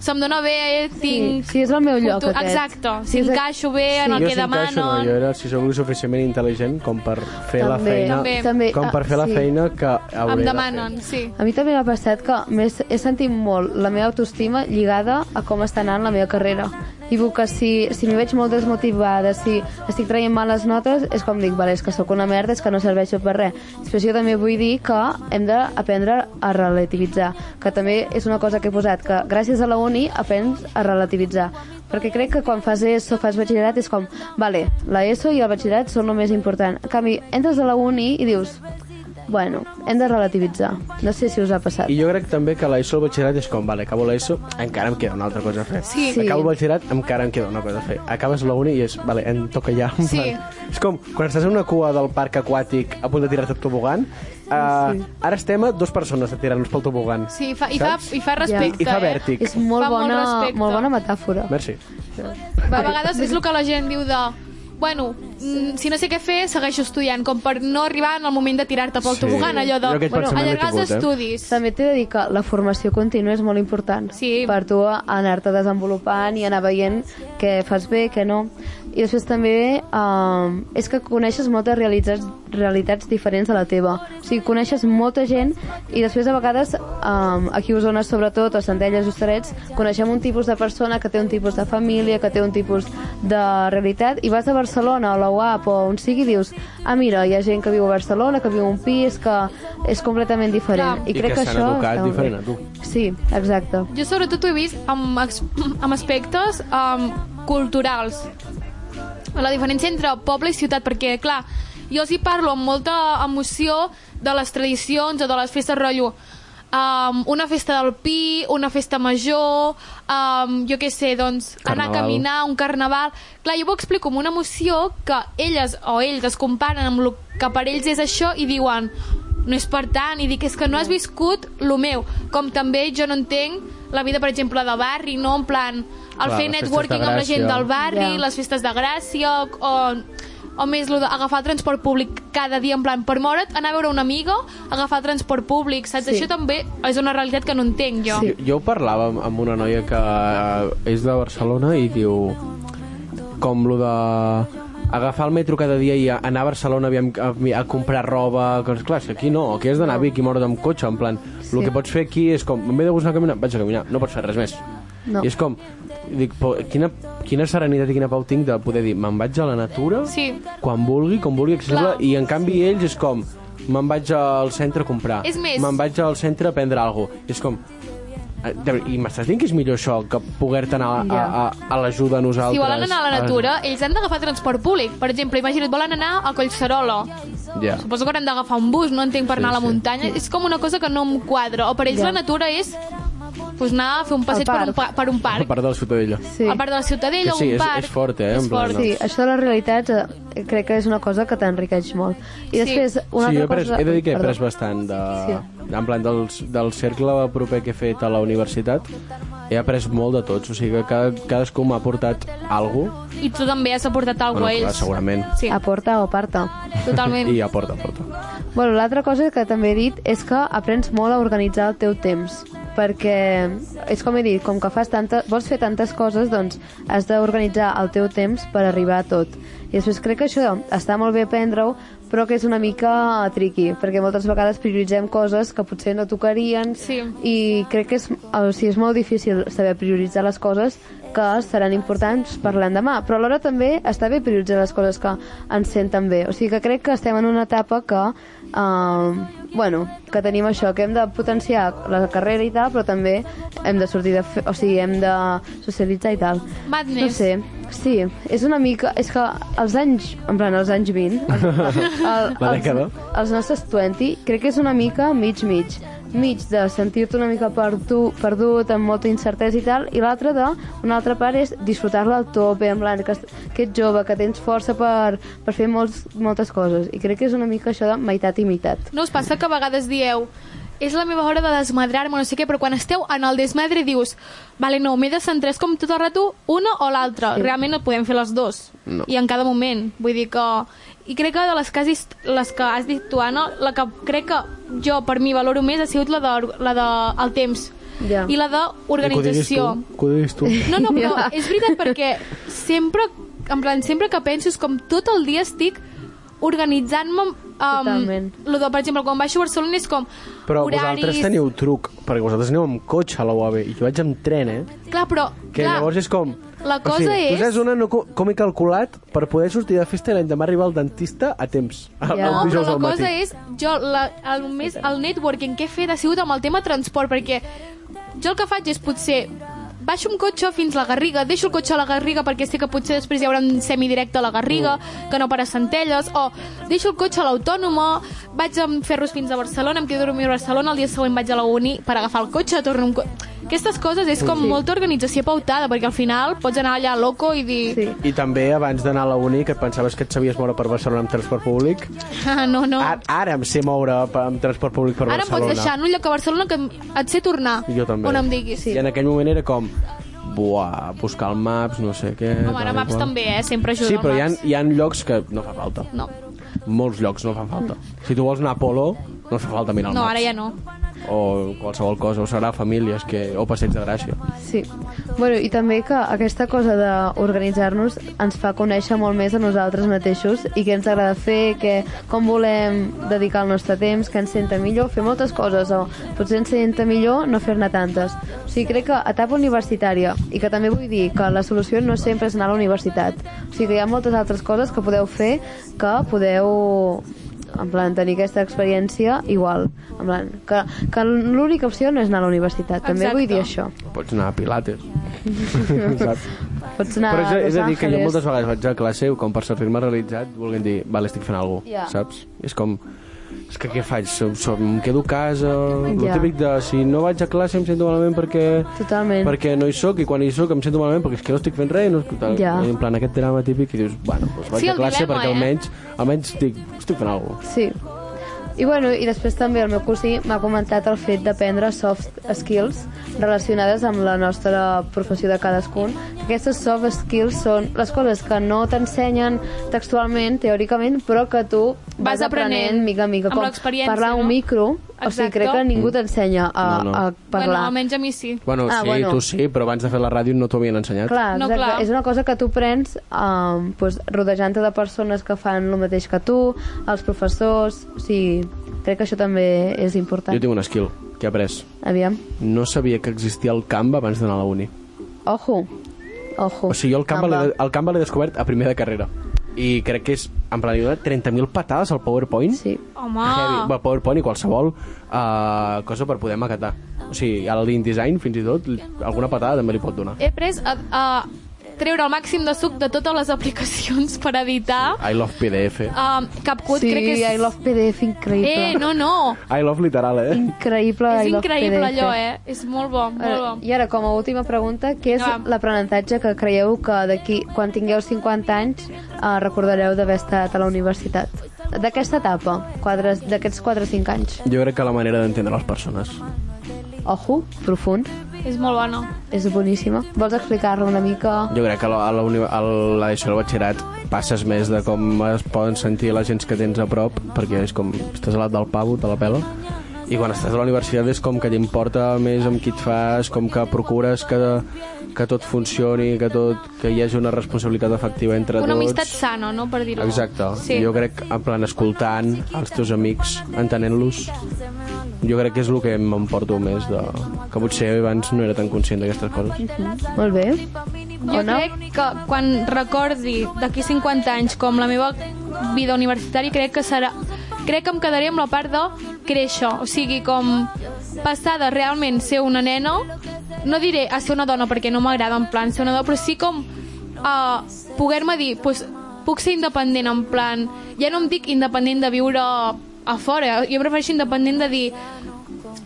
[SPEAKER 3] se'm dóna bé, tinc...
[SPEAKER 5] Sí, sí, és el meu lloc,
[SPEAKER 3] Futuro-
[SPEAKER 5] aquest.
[SPEAKER 3] Exacto,
[SPEAKER 5] Sí,
[SPEAKER 3] si
[SPEAKER 5] és-
[SPEAKER 3] encaixo bé en el
[SPEAKER 5] sí.
[SPEAKER 4] jo
[SPEAKER 3] que
[SPEAKER 4] si encaixo,
[SPEAKER 3] demano...
[SPEAKER 4] no, jo era, si sóc suficientment intel·ligent com per fer la
[SPEAKER 5] També,
[SPEAKER 4] feina...
[SPEAKER 3] També.
[SPEAKER 5] també.
[SPEAKER 4] Com per fer la
[SPEAKER 5] Ah, sí.
[SPEAKER 4] feina que hauré
[SPEAKER 3] Em
[SPEAKER 4] de
[SPEAKER 3] demanen,
[SPEAKER 4] fer.
[SPEAKER 3] sí.
[SPEAKER 5] A mi també m'ha passat que m'he he sentit molt la meva autoestima lligada a com està anant la meva carrera. I dic que si, si m'hi veig molt desmotivada, si estic traient males notes, és com dic, vale, és que sóc una merda, és que no serveixo per res. Després jo també vull dir que hem d'aprendre a relativitzar, que també és una cosa que he posat, que gràcies a la uni aprens a relativitzar. Perquè crec que quan fas ESO, fas batxillerat, és com, vale, la ESO i el batxillerat són el més important. En canvi, entres a la uni i dius, Bueno, hem de relativitzar. No sé si us ha passat.
[SPEAKER 4] I jo crec també que l'ESO al batxillerat és com, vale, acabo l'ESO, encara em queda una altra cosa a fer.
[SPEAKER 3] Sí.
[SPEAKER 5] Sí.
[SPEAKER 4] Acabo el batxillerat, encara em queda una cosa a fer. Acabes la uni i és, vale, em toca ja. en
[SPEAKER 3] Sí.
[SPEAKER 4] plan. És com, quan estàs en una cua del parc aquàtic a punt de tirar-te el tobogan, eh, ara estem a dues persones a tirar-nos pel tobogan.
[SPEAKER 3] Sí, i fa, i, fa,
[SPEAKER 4] Saps?
[SPEAKER 3] i fa respecte,
[SPEAKER 4] I fa
[SPEAKER 3] eh?
[SPEAKER 4] vèrtic.
[SPEAKER 5] És molt
[SPEAKER 3] Fa molt
[SPEAKER 5] bona,
[SPEAKER 3] respecte.
[SPEAKER 5] molt bona metàfora.
[SPEAKER 4] Merci.
[SPEAKER 3] A vegades és el que la gent diu de... Bueno, mm, si no sé què fer, segueixo estudiant, com per no arribar en el moment de tirar-te pel
[SPEAKER 4] Sí.
[SPEAKER 3] tobogan, allò de
[SPEAKER 4] Jo aquest pensament l'he
[SPEAKER 3] allargar els
[SPEAKER 4] tingut,
[SPEAKER 3] estudis.
[SPEAKER 5] També t'he de dir que la formació contínua és molt important
[SPEAKER 3] Sí.
[SPEAKER 5] per tu anar-te desenvolupant i anar veient què fas bé, què no. I després també eh, és que coneixes moltes realitats, realitats diferents a la teva. O sigui, coneixes molta gent i després a vegades eh, aquí a Osona sobretot, o a Centelles, Ostarets, coneixem un tipus de persona que té un tipus de família, que té un tipus de realitat i vas a Barcelona o a la UAP o on sigui i dius ah mira, hi ha gent que viu a Barcelona, que viu a un pis, que és completament diferent.
[SPEAKER 3] Clar.
[SPEAKER 5] I,
[SPEAKER 4] I
[SPEAKER 5] crec
[SPEAKER 4] que
[SPEAKER 5] que,
[SPEAKER 4] s'han
[SPEAKER 5] això
[SPEAKER 4] educat
[SPEAKER 5] està molt
[SPEAKER 4] diferent
[SPEAKER 5] bé.
[SPEAKER 4] a tu.
[SPEAKER 5] Sí, exacte.
[SPEAKER 3] Jo sobretot ho he vist amb, ex- amb aspectes um, culturals. La diferència entre poble i ciutat, perquè, clar, jo els hi parlo amb molta emoció de les tradicions o de les festes rotllo. Um, una festa del Pi, una festa major, um, jo què sé, doncs, anar a
[SPEAKER 4] Carnaval.
[SPEAKER 3] caminar, un carnaval... Clar, jo ho explico amb una emoció que elles o ells es comparen amb el que per ells és això i diuen no és per tant, i dic, és que no has viscut lo meu, com també jo no entenc la vida, per exemple, de barri, no? En plan, el
[SPEAKER 4] Clar,
[SPEAKER 3] fer
[SPEAKER 4] les festes
[SPEAKER 3] networking
[SPEAKER 4] de
[SPEAKER 3] amb la gent
[SPEAKER 4] Gràcia.
[SPEAKER 3] del barri,
[SPEAKER 5] Ja.
[SPEAKER 3] les festes de Gràcia, o, o més lo d'agafar el transport públic cada dia, en plan, per moure't, anar a veure una amiga, agafar el transport públic, saps?
[SPEAKER 5] Sí.
[SPEAKER 3] Això també és una realitat que no entenc jo.
[SPEAKER 5] Sí.
[SPEAKER 4] Jo, jo ho parlava amb- amb una noia que eh, és de Barcelona i diu com lo de agafar el metro cada dia i a- anar a Barcelona aviam, a, a comprar roba, coses, clar, és que aquí no, aquí has d'anar a Vic i mort amb cotxe, en plan, sí. el que pots fer aquí és com, en vez de gust anar a caminar, vaig a caminar, no pots fer res més.
[SPEAKER 5] No.
[SPEAKER 4] I és com, dic, po, quina, quina serenitat i quina pau tinc de poder dir, me'n vaig a la natura
[SPEAKER 3] Sí.
[SPEAKER 4] quan vulgui, com vulgui, accessible,
[SPEAKER 3] Clar.
[SPEAKER 4] i en canvi ells és com, me'n vaig al centre a comprar,
[SPEAKER 3] És més-
[SPEAKER 4] me'n vaig al centre a prendre alguna cosa, és com, eh, de veritat, i m'estàs dient que és millor això que poder-te anar a, a, a, a l'ajuda a nosaltres?
[SPEAKER 3] Si volen anar a la
[SPEAKER 4] a-
[SPEAKER 3] natura, ells han d'agafar transport públic. Per exemple, imagina't, volen anar a Collserola.
[SPEAKER 4] Ja.
[SPEAKER 3] Suposo que hauran d'agafar un bus, no entenc, per
[SPEAKER 4] Sí,
[SPEAKER 3] anar a la
[SPEAKER 4] sí.
[SPEAKER 3] muntanya. És com una cosa que no em quadra. O per ells
[SPEAKER 5] Ja.
[SPEAKER 3] la natura és pues, anar a fer un passeig per un, pa,
[SPEAKER 5] parc.
[SPEAKER 3] per un
[SPEAKER 4] A
[SPEAKER 3] parc.
[SPEAKER 4] part de la Ciutadella.
[SPEAKER 5] Sí.
[SPEAKER 3] A part de la Ciutadella,
[SPEAKER 4] Que sí,
[SPEAKER 3] un
[SPEAKER 4] és-
[SPEAKER 3] parc.
[SPEAKER 4] és fort, eh, en
[SPEAKER 3] És
[SPEAKER 4] plan,
[SPEAKER 3] fort.
[SPEAKER 4] no?
[SPEAKER 5] Sí, això de les realitats eh, crec que és una cosa que t'enriqueix molt. I després, una
[SPEAKER 4] sí, jo he,
[SPEAKER 5] altra
[SPEAKER 4] pres,
[SPEAKER 5] cosa...
[SPEAKER 4] he de dir que he
[SPEAKER 5] Perdó.
[SPEAKER 4] pres bastant de,
[SPEAKER 5] Sí.
[SPEAKER 4] en plan dels, del cercle proper que he fet a la universitat he après molt de tots, o sigui que cada, cadascú m'ha aportat alguna cosa
[SPEAKER 3] I tu també has aportat alguna cosa a
[SPEAKER 4] clar,
[SPEAKER 3] ells.
[SPEAKER 4] segurament
[SPEAKER 3] Sí,
[SPEAKER 5] Aporta o aparta.
[SPEAKER 3] totalment.
[SPEAKER 4] i aporta, aporta
[SPEAKER 5] Bueno, l'altra cosa que també he dit és que aprens molt a organitzar el teu temps perquè és com he dit, com que fas tanta, vols fer tantes coses, doncs has d'organitzar el teu temps per arribar a tot. I després crec que això està molt bé aprendre-ho, però que és una mica tricky, perquè moltes vegades prioritzem coses que potser no tocarien
[SPEAKER 3] Sí.
[SPEAKER 5] i crec que és, o sigui, és molt difícil saber prioritzar les coses que seran importants per l'endemà, però alhora també està bé prioritzar les coses que ens senten bé. O sigui que crec que estem en una etapa que, eh, bueno, que tenim això, que hem de potenciar la carrera i tal, però també hem de sortir de... Fe... O sigui, hem de socialitzar i tal.
[SPEAKER 3] Madness.
[SPEAKER 5] No sé, sí, és una mica... És que els anys, en plan, els anys 20... El, el,
[SPEAKER 4] La dècada.
[SPEAKER 5] Els, els nostres 20 crec que és una mica mig-mig mig de sentir-te una mica perdu, perdut, amb molta incertesa i tal, i l'altra de, una altra part és disfrutar-la al tope, en plan, que, est- que ets jove, que tens força per, per fer molts, moltes coses, i crec que és una mica això de meitat i meitat.
[SPEAKER 3] No us passa que a vegades dieu és la meva hora de desmadrar-me, no sé què, però quan esteu en el desmadre dius vale, no, m'he de centrar, és com tot el rato una o l'altra, realment no podem fer les dues no. i en cada moment, vull dir que i crec que de les que has, dist- les que has dit tu, Anna, la que crec que jo per mi valoro més ha sigut la de, la de el temps
[SPEAKER 5] Ja.
[SPEAKER 3] i la d'organització.
[SPEAKER 4] que ho diguis tu
[SPEAKER 3] No, no, però
[SPEAKER 5] Ja.
[SPEAKER 3] és veritat perquè sempre, en plan, sempre que penso és com tot el dia estic organitzant-me um,
[SPEAKER 5] Totalment.
[SPEAKER 3] lo de, per exemple, quan baixo a Barcelona és com
[SPEAKER 4] però
[SPEAKER 3] horaris...
[SPEAKER 4] vosaltres teniu truc perquè vosaltres aneu amb cotxe a la UAB i jo vaig amb tren, eh?
[SPEAKER 3] Clar, però...
[SPEAKER 4] que
[SPEAKER 3] clar,
[SPEAKER 4] llavors és com
[SPEAKER 3] La cosa
[SPEAKER 4] o sigui,
[SPEAKER 3] és-
[SPEAKER 4] tu saps una no, co- com he calculat per poder sortir de festa i l'endemà arribar al dentista a temps el,
[SPEAKER 5] Ja.
[SPEAKER 4] el
[SPEAKER 3] No, però
[SPEAKER 4] dijous
[SPEAKER 3] la
[SPEAKER 4] al matí
[SPEAKER 3] cosa és... Jo, la, el, més, el networking que he fet ha sigut amb el tema transport, perquè jo el que faig és potser baixo amb cotxe fins a la Garriga, deixo el cotxe a la Garriga perquè sé que potser després hi haurà un semidirecte a la Garriga,
[SPEAKER 4] Mm.
[SPEAKER 3] que no per a Centelles, o deixo el cotxe a l'Autònoma, vaig amb ferros fins a Barcelona, em quedo a dormir a Barcelona, el dia següent vaig a la Uni per agafar el cotxe, torno amb... Co Aquestes coses és com molta organització pautada, perquè al final pots anar allà loco i dir...
[SPEAKER 5] Sí.
[SPEAKER 4] I també, abans d'anar a la uni, que et pensaves que et sabies moure per Barcelona amb transport públic,
[SPEAKER 3] Ah, no, no.
[SPEAKER 4] ara, ara em sé moure per- amb transport públic per
[SPEAKER 3] Ara em pots
[SPEAKER 4] Barcelona.
[SPEAKER 3] deixar en un lloc a Barcelona que em- et sé tornar.
[SPEAKER 4] Jo també.
[SPEAKER 3] On em diguis.
[SPEAKER 4] I en aquell moment era com... Buah, buscar el Maps, no sé què...
[SPEAKER 3] Home, ara
[SPEAKER 4] tal i
[SPEAKER 3] Maps
[SPEAKER 4] qual.
[SPEAKER 3] també, eh? Sempre ajuda
[SPEAKER 4] Sí, però
[SPEAKER 3] el
[SPEAKER 4] hi ha,
[SPEAKER 3] Maps.
[SPEAKER 4] hi ha llocs que no fa falta.
[SPEAKER 3] No.
[SPEAKER 4] Molts llocs no fan falta. Si tu vols anar a Polo, no fa falta mirar el
[SPEAKER 3] No,
[SPEAKER 4] Maps.
[SPEAKER 3] ara ja no.
[SPEAKER 4] O qualsevol cosa, o serà famílies que... o passeig de gràcia.
[SPEAKER 5] Sí. Bueno, i també que aquesta cosa d'organitzar-nos ens fa conèixer molt més a nosaltres mateixos i què ens agrada fer, què, com volem dedicar el nostre temps, què ens senta millor, fer moltes coses o potser ens senta millor no fer-ne tantes. O sigui, crec que etapa universitària i que també vull dir que la solució no sempre és anar a la universitat. O sigui, que hi ha moltes altres coses que podeu fer que podeu en plan, tenir aquesta experiència igual. En plan, que, que l'única opció no és anar a la universitat. També
[SPEAKER 3] Exacte.
[SPEAKER 5] vull dir això.
[SPEAKER 4] Pots anar a Pilates. Saps?
[SPEAKER 5] Pots anar
[SPEAKER 4] Però és,
[SPEAKER 5] a
[SPEAKER 4] és
[SPEAKER 5] Los
[SPEAKER 4] a dir, que jo
[SPEAKER 5] Angeles.
[SPEAKER 4] moltes vegades vaig a classe com per sentir-me realitzat, volguin dir, vale, estic fent alguna cosa,
[SPEAKER 5] Ja.
[SPEAKER 4] saps? És com, és que què faig? So, so, em quedo a casa... El
[SPEAKER 5] Ja.
[SPEAKER 4] típic de, si no vaig a classe em sento malament perquè...
[SPEAKER 5] Totalment.
[SPEAKER 4] Perquè no hi sóc i quan hi sóc em sento malament perquè és que no estic fent res i no estic...
[SPEAKER 5] Ja.
[SPEAKER 4] En plan, aquest drama típic i dius, bueno, doncs vaig
[SPEAKER 3] Sí,
[SPEAKER 4] a
[SPEAKER 3] el
[SPEAKER 4] classe
[SPEAKER 3] dilema,
[SPEAKER 4] perquè
[SPEAKER 3] eh?
[SPEAKER 4] almenys, almenys estic, estic fent alguna cosa.
[SPEAKER 5] Sí. I, bueno, I després també el meu cosí m'ha comentat el fet d'aprendre soft skills relacionades amb la nostra professió de cadascun. Aquestes soft skills són les coses que no t'ensenyen textualment, teòricament, però que tu vas,
[SPEAKER 3] Vas aprenent
[SPEAKER 5] aprenent mica en mica.
[SPEAKER 3] amb
[SPEAKER 5] Com
[SPEAKER 3] l'experiència,
[SPEAKER 5] parlar
[SPEAKER 3] no?
[SPEAKER 5] un micro O sigui, crec que ningú t'ensenya a,
[SPEAKER 4] No, no.
[SPEAKER 5] a
[SPEAKER 3] Bueno,
[SPEAKER 5] parlar.
[SPEAKER 3] almenys a mi sí.
[SPEAKER 4] Bueno,
[SPEAKER 5] Ah,
[SPEAKER 4] sí,
[SPEAKER 5] bueno.
[SPEAKER 4] tu sí, però abans de fer la ràdio no t'ho havien ensenyat.
[SPEAKER 5] Clar,
[SPEAKER 3] No,
[SPEAKER 5] exacte.
[SPEAKER 3] clar.
[SPEAKER 5] és una cosa que tu prens um, pues, rodejant-te de persones que fan el mateix que tu, els professors, o sigui, crec que això també és important.
[SPEAKER 4] Jo tinc un skill que he après.
[SPEAKER 5] Aviam.
[SPEAKER 4] No sabia que existia el Canva abans d'anar a la uni.
[SPEAKER 5] Ojo. Ojo.
[SPEAKER 4] O sigui, jo el Canva,
[SPEAKER 5] Canva.
[SPEAKER 4] l'he- el Canva l'he descobert a primer de carrera. I crec que és, en plan, li he donat 30.000 patades al PowerPoint.
[SPEAKER 5] Sí.
[SPEAKER 3] Home,
[SPEAKER 4] Heavy. Va, PowerPoint i qualsevol uh, cosa per poder maquetar. O sigui, a l'InDesign, fins i tot, li- alguna patada també li pot donar.
[SPEAKER 3] he après a, a treure el màxim de suc de totes les aplicacions per editar.
[SPEAKER 4] I love PDF.
[SPEAKER 3] Um, CapCut
[SPEAKER 5] sí,
[SPEAKER 3] crec que és...
[SPEAKER 5] I love PDF, increïble.
[SPEAKER 3] Eh, no, no.
[SPEAKER 4] I love literal, eh?
[SPEAKER 5] Increïble,
[SPEAKER 3] és
[SPEAKER 5] I love
[SPEAKER 3] increïble
[SPEAKER 5] PDF.
[SPEAKER 3] allò, eh? És molt bo, molt bo.
[SPEAKER 5] I ara, com a última pregunta, què és
[SPEAKER 3] Va.
[SPEAKER 5] l'aprenentatge que creieu que d'aquí, quan tingueu 50 anys, eh, recordareu d'haver estat a la universitat? D'aquesta etapa, quadres- d'aquests 4-5 anys.
[SPEAKER 4] Jo crec que la manera d'entendre les persones.
[SPEAKER 5] Ojo, profund,
[SPEAKER 3] És molt bona.
[SPEAKER 5] és boníssima. Vols explicar-la una mica?
[SPEAKER 4] Jo crec que a la- a la uni- a l'edició del batxillerat passes més de com es poden sentir la gent que tens a prop, perquè és com estàs a l'at del pavo, te la pela. I quan estàs a la universitat és com que t'importa més amb qui et fas, com que procures que, que tot funcioni, que, tot, que hi hagi una responsabilitat efectiva entre
[SPEAKER 3] Una
[SPEAKER 4] tots.
[SPEAKER 3] amistat sana, no?, per dir-ho.
[SPEAKER 4] Exacte.
[SPEAKER 3] Sí.
[SPEAKER 4] Jo crec, en plan, escoltant els teus amics, entenent-los, jo crec que és el que m'emporto més de... que potser abans no era tan conscient d'aquestes coses.
[SPEAKER 5] Molt bé.
[SPEAKER 3] Jo
[SPEAKER 5] O no?
[SPEAKER 3] crec que quan recordi d'aquí 50 anys com la meva vida universitària, crec que serà... Crec que em quedaré amb la part de créixer, o sigui, com passar de realment ser una nena, no diré a ser una dona perquè no m'agrada en plan ser una dona, però sí com uh, poder-me dir, pues, puc ser independent en plan, ja no em dic independent de viure a fora, jo prefereixo independent de dir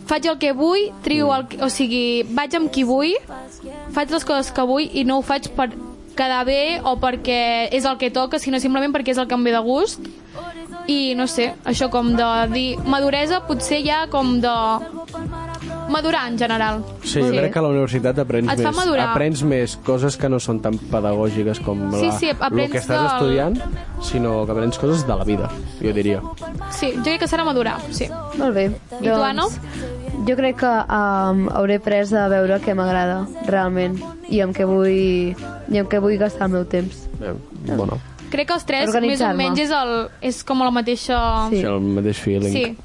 [SPEAKER 3] faig el que vull, trio el que, o sigui, vaig amb qui vull, faig les coses que vull i no ho faig per quedar bé o perquè és el que toca, sinó simplement perquè és el que em ve de gust i no sé, això com de dir maduresa potser ja com de madurar en general
[SPEAKER 4] Sí, jo crec que a la universitat aprens
[SPEAKER 3] Et fa
[SPEAKER 4] més,
[SPEAKER 3] madurar.
[SPEAKER 4] aprens més coses que no són tan pedagògiques com
[SPEAKER 3] Sí,
[SPEAKER 4] la,
[SPEAKER 3] sí,
[SPEAKER 4] el
[SPEAKER 3] aprens
[SPEAKER 4] que estàs
[SPEAKER 3] del-
[SPEAKER 4] estudiant, sinó que aprens coses de la vida, jo diria.
[SPEAKER 3] sí, jo crec que serà madurar sí.
[SPEAKER 5] Molt bé. Doncs,
[SPEAKER 3] I tu, Anna?
[SPEAKER 5] Jo crec que um, hauré pres a veure què m'agrada realment i amb què vull, i amb què vull gastar el meu temps.
[SPEAKER 4] Eh, bueno,
[SPEAKER 3] crec que els tres més o
[SPEAKER 5] Organitzar-me.
[SPEAKER 3] menys és, el, és com la mateixa
[SPEAKER 5] Sí.
[SPEAKER 4] sí. el mateix feeling.
[SPEAKER 3] sí.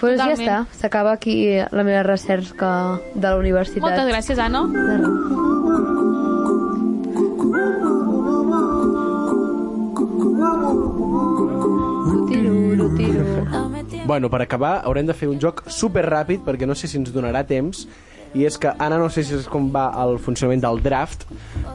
[SPEAKER 5] Pues ja
[SPEAKER 3] Totalment.
[SPEAKER 5] està, s'acaba aquí la meva recerca de la universitat.
[SPEAKER 3] moltes gràcies Anna
[SPEAKER 5] Tiro, tiro.
[SPEAKER 4] Bueno, per acabar, haurem de fer un joc super ràpid perquè no sé si ens donarà temps i és que, Anna, no sé si és com va el funcionament del draft.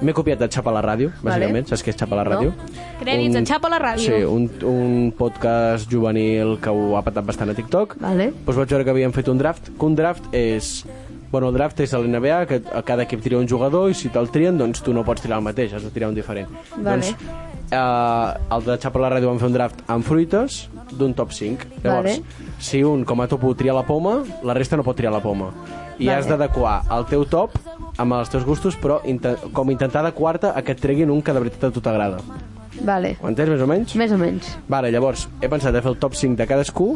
[SPEAKER 4] M'he copiat de Xapa la Ràdio, bàsicament.
[SPEAKER 5] Vale.
[SPEAKER 4] Saps què és Xapa la Ràdio?
[SPEAKER 3] crèdits
[SPEAKER 4] Un-
[SPEAKER 3] a xapa a la ràdio
[SPEAKER 4] Sí, un, un podcast juvenil que ho ha patat bastant a TikTok.
[SPEAKER 5] Vale.
[SPEAKER 4] Doncs vaig veure que havien fet un draft, que un draft és... Bueno, el draft és a l'NBA, que a cada equip tria un jugador i si te'l trien, doncs tu no pots tirar el mateix, has de tirar un diferent.
[SPEAKER 5] Vale.
[SPEAKER 4] Doncs, eh, el de Xapa la Ràdio van fer un draft amb fruites d'un top 5. Llavors,
[SPEAKER 5] Vale.
[SPEAKER 4] si un com a topo tria la poma, la resta no pot triar la poma. I
[SPEAKER 5] Vale.
[SPEAKER 4] has d'adequar el teu top amb els teus gustos, però inte com intentar adequar-te a que et treguin un que de veritat a tu t'agrada.
[SPEAKER 5] Vale,
[SPEAKER 4] Ho entens, més o menys?
[SPEAKER 5] més o menys.
[SPEAKER 4] Vale, llavors, he pensat a fer el top 5 de cadascú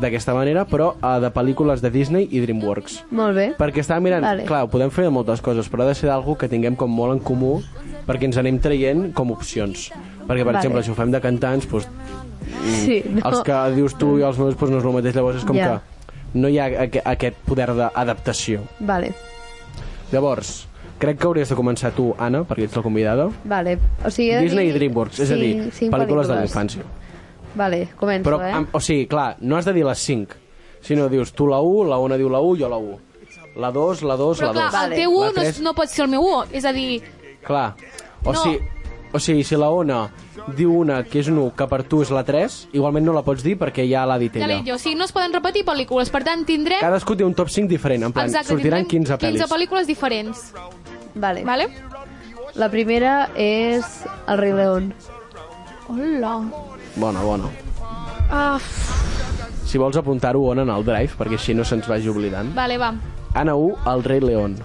[SPEAKER 4] d'aquesta manera, però eh, de pel·lícules de Disney i DreamWorks.
[SPEAKER 5] Molt bé.
[SPEAKER 4] Perquè estava mirant,
[SPEAKER 5] Vale.
[SPEAKER 4] vale. clar, ho podem fer de moltes coses, però ha de ser d'algú que tinguem com molt en comú perquè ens anem traient com opcions. Perquè, per
[SPEAKER 5] Vale.
[SPEAKER 4] vale. exemple, si ho fem de cantants, doncs,
[SPEAKER 5] Sí, no.
[SPEAKER 4] els que dius tu i els meus doncs, no és el mateix, llavors és com
[SPEAKER 5] Ja.
[SPEAKER 4] que no hi ha aqu aquest poder d'adaptació.
[SPEAKER 5] Vale,
[SPEAKER 4] Llavors, crec que hauries de començar tu, Anna, perquè ets la convidada.
[SPEAKER 5] vale. O sigui, he de
[SPEAKER 4] Disney i
[SPEAKER 5] dir
[SPEAKER 4] DreamWorks, és a dir,
[SPEAKER 5] cinc- cinc
[SPEAKER 4] pel·lícules de la infància.
[SPEAKER 5] Vale, començo,
[SPEAKER 4] Però,
[SPEAKER 5] eh?
[SPEAKER 4] amb, o sigui, clar, no has de dir les 5. Si no, dius tu la 1, la 1 diu la 1, jo la 1. La 2, la 2,
[SPEAKER 3] però
[SPEAKER 4] la 2.
[SPEAKER 3] clar, el teu 1
[SPEAKER 4] La
[SPEAKER 3] no,
[SPEAKER 4] tres-
[SPEAKER 3] no pot ser el meu 1 és a dir,
[SPEAKER 4] Clar. O,
[SPEAKER 3] No.
[SPEAKER 4] sigui, o sigui, si la Ona diu una que és un 1 que per tu és la 3, igualment no la pots dir perquè ja l'ha dit
[SPEAKER 3] ja l'he
[SPEAKER 4] ella.
[SPEAKER 3] dit jo, o sigui, no es poden repetir pel·lícules per tant tindrem
[SPEAKER 4] Cadascú té un top 5 diferent, en plan,
[SPEAKER 3] Exacte,
[SPEAKER 4] sortiran
[SPEAKER 3] tindrem
[SPEAKER 4] 15 pel·lis.
[SPEAKER 3] 15 pel·lícules diferents,
[SPEAKER 5] Vale.
[SPEAKER 3] vale?
[SPEAKER 5] La primera és El rei León.
[SPEAKER 3] Hola.
[SPEAKER 4] Bona, bona.
[SPEAKER 3] Ah,
[SPEAKER 4] Si vols apuntar-ho, Ona, en el drive, perquè així no se'ns vagi oblidant.
[SPEAKER 3] vale, va.
[SPEAKER 4] Anna 1, El rei León.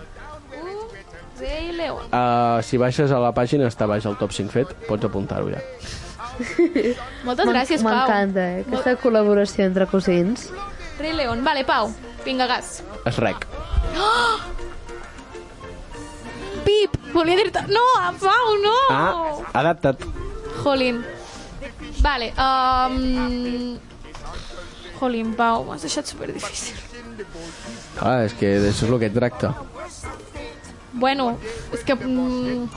[SPEAKER 3] Rei León.
[SPEAKER 4] Uh, si baixes a la pàgina, està baix el top 5 fet, pots apuntar-ho ja.
[SPEAKER 3] Moltes gràcies, Pau.
[SPEAKER 5] M'encanta, eh? Aquesta col·laboració entre cosins.
[SPEAKER 3] Rey León. Vale, Pau. Vinga, gas.
[SPEAKER 4] Es rec.
[SPEAKER 3] Oh! Pip! Volia dir-te... No, a Pau, no! Oh.
[SPEAKER 4] Ah, adapta't.
[SPEAKER 3] Jolín. Vale, um... Jolín, Pau, m'has deixat superdifícil.
[SPEAKER 10] Ah, és que això és el que tracta.
[SPEAKER 3] Bueno, és que... Mm...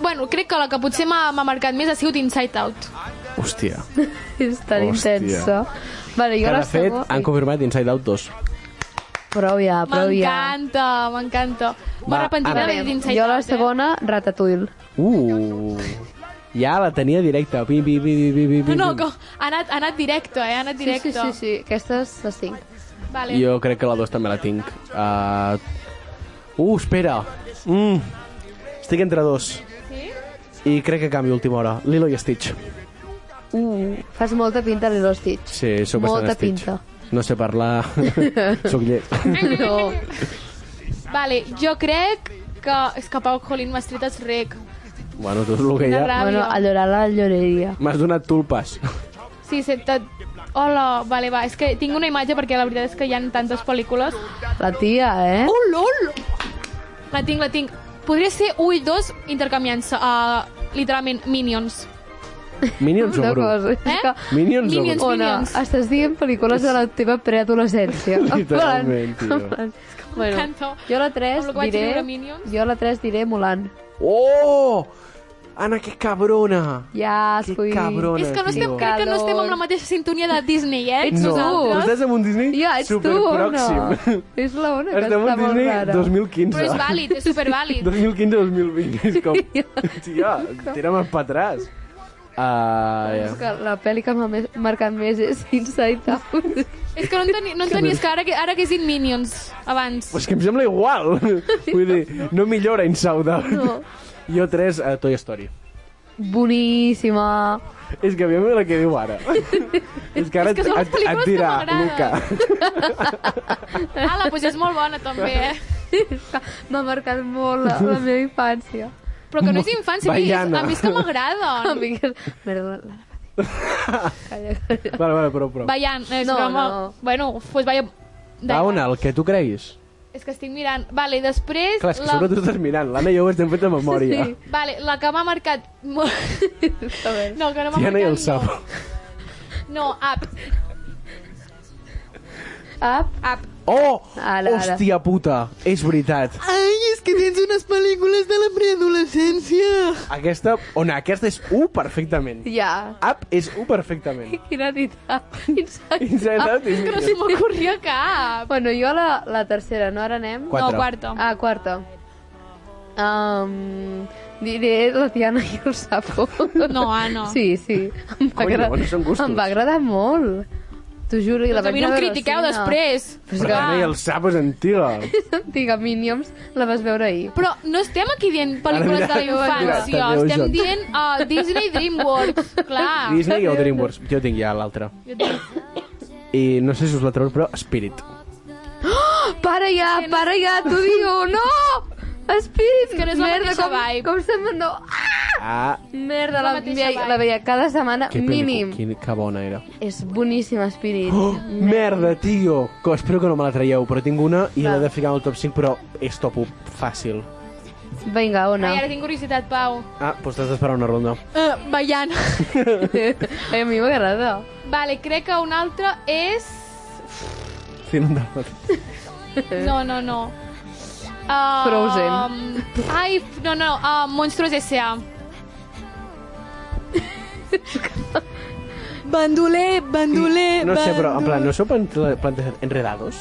[SPEAKER 3] Bueno, crec que la que potser m'ha m'ha marcat més ha sigut Inside Out.
[SPEAKER 4] Hòstia.
[SPEAKER 5] És tan
[SPEAKER 4] Hòstia.
[SPEAKER 5] intensa. Vale,
[SPEAKER 4] Que,
[SPEAKER 5] jo la
[SPEAKER 4] de fet,
[SPEAKER 5] segona...
[SPEAKER 4] han confirmat Inside Out 2.
[SPEAKER 5] Prou ja, prou ja.
[SPEAKER 3] M'encanta, m'encanta.
[SPEAKER 4] Va,
[SPEAKER 3] M'arrepentiré
[SPEAKER 4] Anna.
[SPEAKER 3] d'haver dit Inside
[SPEAKER 5] Jo la
[SPEAKER 3] Out, eh?
[SPEAKER 5] segona, Ratatouille.
[SPEAKER 4] Uh, ja la tenia directa. Bim, bim, bim, bim, bim, bim,
[SPEAKER 3] No,
[SPEAKER 4] bim.
[SPEAKER 3] no, que ha anat, ha anat directo, eh? Ha anat
[SPEAKER 5] Sí,
[SPEAKER 3] directo.
[SPEAKER 5] sí, sí, sí. Aquesta és la 5.
[SPEAKER 3] Vale.
[SPEAKER 4] Jo crec que la 2 també la tinc. Uh, uh espera. Mm. Estic entre dos. I crec que canvio a última hora. Lilo i Stitch.
[SPEAKER 5] Uh, fas molta pinta a Lilo Stitch.
[SPEAKER 4] Sí, sóc bastant
[SPEAKER 5] Molta
[SPEAKER 4] Stitch.
[SPEAKER 5] pinta.
[SPEAKER 4] No sé parlar. sóc llet.
[SPEAKER 5] No.
[SPEAKER 3] Vale, jo crec que... És que Pau Jolín m'has tret el rec.
[SPEAKER 4] bueno, tot el que hi
[SPEAKER 3] Quina
[SPEAKER 4] ha.
[SPEAKER 3] ràbia.
[SPEAKER 5] Bueno, a llorar la lloreria.
[SPEAKER 4] M'has donat tulpes.
[SPEAKER 3] Sí, se te... Hola, vale, va. És que tinc una imatge perquè la veritat és que hi han tantes pel·lícules.
[SPEAKER 5] La tia, eh?
[SPEAKER 3] Oh, lol! La tinc, la tinc. Podria ser 1 i 2 intercanviant-se uh, literalment Minions.
[SPEAKER 4] Minions o
[SPEAKER 5] Una
[SPEAKER 4] Bru?
[SPEAKER 5] cosa. És
[SPEAKER 3] Eh?
[SPEAKER 5] que...
[SPEAKER 4] Minions o
[SPEAKER 3] Minions.
[SPEAKER 4] Bru?
[SPEAKER 5] Ona, estàs dient pel·lícules de la teva preadolescència. En plan-
[SPEAKER 4] Literalment, tio.
[SPEAKER 5] en plan- Bueno,
[SPEAKER 3] Canto.
[SPEAKER 5] jo la 3
[SPEAKER 3] Amb lo que vaig viure
[SPEAKER 5] diré...
[SPEAKER 3] Minions.
[SPEAKER 5] Jo la 3 diré Mulan.
[SPEAKER 4] Oh! Anna, que cabrona!
[SPEAKER 5] Ja,
[SPEAKER 4] Que
[SPEAKER 5] escull.
[SPEAKER 4] cabrona,
[SPEAKER 3] és que no estem,
[SPEAKER 4] tio.
[SPEAKER 3] crec que no estem amb la mateixa sintonia de Disney, eh?
[SPEAKER 5] Ets
[SPEAKER 4] No,
[SPEAKER 5] nosaltres.
[SPEAKER 4] estàs amb un Disney
[SPEAKER 5] Ja, ets tu, Ona.
[SPEAKER 4] superpròxim.
[SPEAKER 5] És la Ona, que
[SPEAKER 4] Estem
[SPEAKER 5] està
[SPEAKER 4] amb
[SPEAKER 5] molt
[SPEAKER 4] Disney
[SPEAKER 5] rara.
[SPEAKER 4] 2015.
[SPEAKER 3] Però és vàlid, és supervàlid.
[SPEAKER 4] 2015-2020, és com... Tia, tira'm el patràs. Ah,
[SPEAKER 5] És que la pel·li que m'ha més- marcat més és Inside Out.
[SPEAKER 3] és que no entenies no entenies que ara que, ara que és in Minions, abans.
[SPEAKER 4] Però és que em sembla igual. Vull dir, no millora Insaudar.
[SPEAKER 5] No.
[SPEAKER 4] Jo 3 a Toy Story.
[SPEAKER 5] Boníssima.
[SPEAKER 4] És que aviam la que diu ara. és que ara
[SPEAKER 3] És que són les
[SPEAKER 4] et, et
[SPEAKER 3] pel·lícules que
[SPEAKER 4] dirà,
[SPEAKER 3] m'agraden.
[SPEAKER 4] Luca.
[SPEAKER 3] Ala, doncs és molt bona també, eh?
[SPEAKER 5] M'ha marcat molt la, la meva infància.
[SPEAKER 3] Però que no és infància, a mi, és,
[SPEAKER 4] Baiana.
[SPEAKER 3] a mi és que m'agrada.
[SPEAKER 5] A mi que... Merda, la, la... Calla, calla.
[SPEAKER 4] Vale, vale, prou, prou.
[SPEAKER 3] Ballant, eh, és
[SPEAKER 5] No,
[SPEAKER 3] no, broma.
[SPEAKER 5] no.
[SPEAKER 3] No. Bueno, pues vaya...
[SPEAKER 4] Va, una, el que tu creguis.
[SPEAKER 3] És que estic mirant. Vale, després...
[SPEAKER 4] Clar, és que sobre tu estàs mirant. L'Anna i jo ho estem fent de memòria.
[SPEAKER 5] Sí.
[SPEAKER 3] Vale, la que m'ha marcat... mo-
[SPEAKER 5] A veure.
[SPEAKER 3] No, que no m'ha
[SPEAKER 4] Ja
[SPEAKER 3] marcat...
[SPEAKER 4] no hi ha el
[SPEAKER 3] no.
[SPEAKER 4] sap.
[SPEAKER 3] No, up,
[SPEAKER 5] Up.
[SPEAKER 3] up.
[SPEAKER 4] Oh!
[SPEAKER 5] Ala, ala.
[SPEAKER 4] Hòstia puta, és veritat.
[SPEAKER 1] Ai, és que tens unes pel·lícules de la preadolescència.
[SPEAKER 4] Aquesta, on aquesta és 1 perfectament.
[SPEAKER 5] Ja.
[SPEAKER 4] Up és 1 perfectament.
[SPEAKER 5] Quina dita. Inside,
[SPEAKER 4] Inside Out i
[SPEAKER 3] Que no
[SPEAKER 4] Minions.
[SPEAKER 3] se m'ocorria cap.
[SPEAKER 5] Ah, Bueno, jo la, la tercera, no? Ara anem...
[SPEAKER 4] Quatre.
[SPEAKER 3] No, quarta.
[SPEAKER 5] Ah, quarta. Um, diré la Tiana i el Sapo.
[SPEAKER 3] No, ah, no.
[SPEAKER 5] Sí, sí. Em va,
[SPEAKER 4] Coño, bueno, són gustos.
[SPEAKER 5] em va agradar molt. T'ho juro, i la
[SPEAKER 3] Doncs a
[SPEAKER 5] vaig
[SPEAKER 3] mi no em
[SPEAKER 5] veure al
[SPEAKER 3] critiqueu
[SPEAKER 5] cine.
[SPEAKER 3] després.
[SPEAKER 5] Però és
[SPEAKER 4] Però
[SPEAKER 5] que-
[SPEAKER 4] també el sap és antiga.
[SPEAKER 5] Digue, Minions, la vas veure ahir.
[SPEAKER 3] Però no estem aquí dient pel·lícules de la
[SPEAKER 4] Ara mira,
[SPEAKER 3] infància,
[SPEAKER 4] mira,
[SPEAKER 3] estem
[SPEAKER 4] Jones.
[SPEAKER 3] dient uh, Disney DreamWorks,
[SPEAKER 5] Ah.
[SPEAKER 3] clar.
[SPEAKER 4] Disney o DreamWorks? Jo tinc ja l'altra. I no sé si us la treu, però Spirit.
[SPEAKER 5] Para ja, para ja, t'ho digo, no! Spirit,
[SPEAKER 3] que no és la
[SPEAKER 5] merda,
[SPEAKER 3] mateixa
[SPEAKER 5] com,
[SPEAKER 3] vibe.
[SPEAKER 5] com se'm mandó.
[SPEAKER 4] Ah,
[SPEAKER 5] Merda,
[SPEAKER 3] la
[SPEAKER 5] la,
[SPEAKER 3] mateixa
[SPEAKER 5] veia,
[SPEAKER 3] vibe.
[SPEAKER 5] la veia cada setmana,
[SPEAKER 4] que
[SPEAKER 5] mínim.
[SPEAKER 4] pel·lícula, quin, que bona era.
[SPEAKER 5] És boníssima, Spirit.
[SPEAKER 4] Oh, merda, tio! Que espero que no me la traieu, però tinc una i
[SPEAKER 5] Va.
[SPEAKER 4] l'he de ficar en el top 5, però és top 1, fàcil.
[SPEAKER 5] Vinga, Ona.
[SPEAKER 3] Ai, ara tinc curiositat, Pau.
[SPEAKER 4] Ah, doncs t'has d'esperar una ronda.
[SPEAKER 3] Uh, ballant.
[SPEAKER 5] Ai, a mi m'agrada.
[SPEAKER 3] Vale, crec que una altra és...
[SPEAKER 4] Sí, no, no.
[SPEAKER 3] No, no, no. Uh,
[SPEAKER 5] Eh. Frozen.
[SPEAKER 3] Ai, f- no, no, uh, Monstruos S.A.
[SPEAKER 1] Bandoler, bandoler,
[SPEAKER 4] no sé, però en plan, no sou plantle- plante- enredados?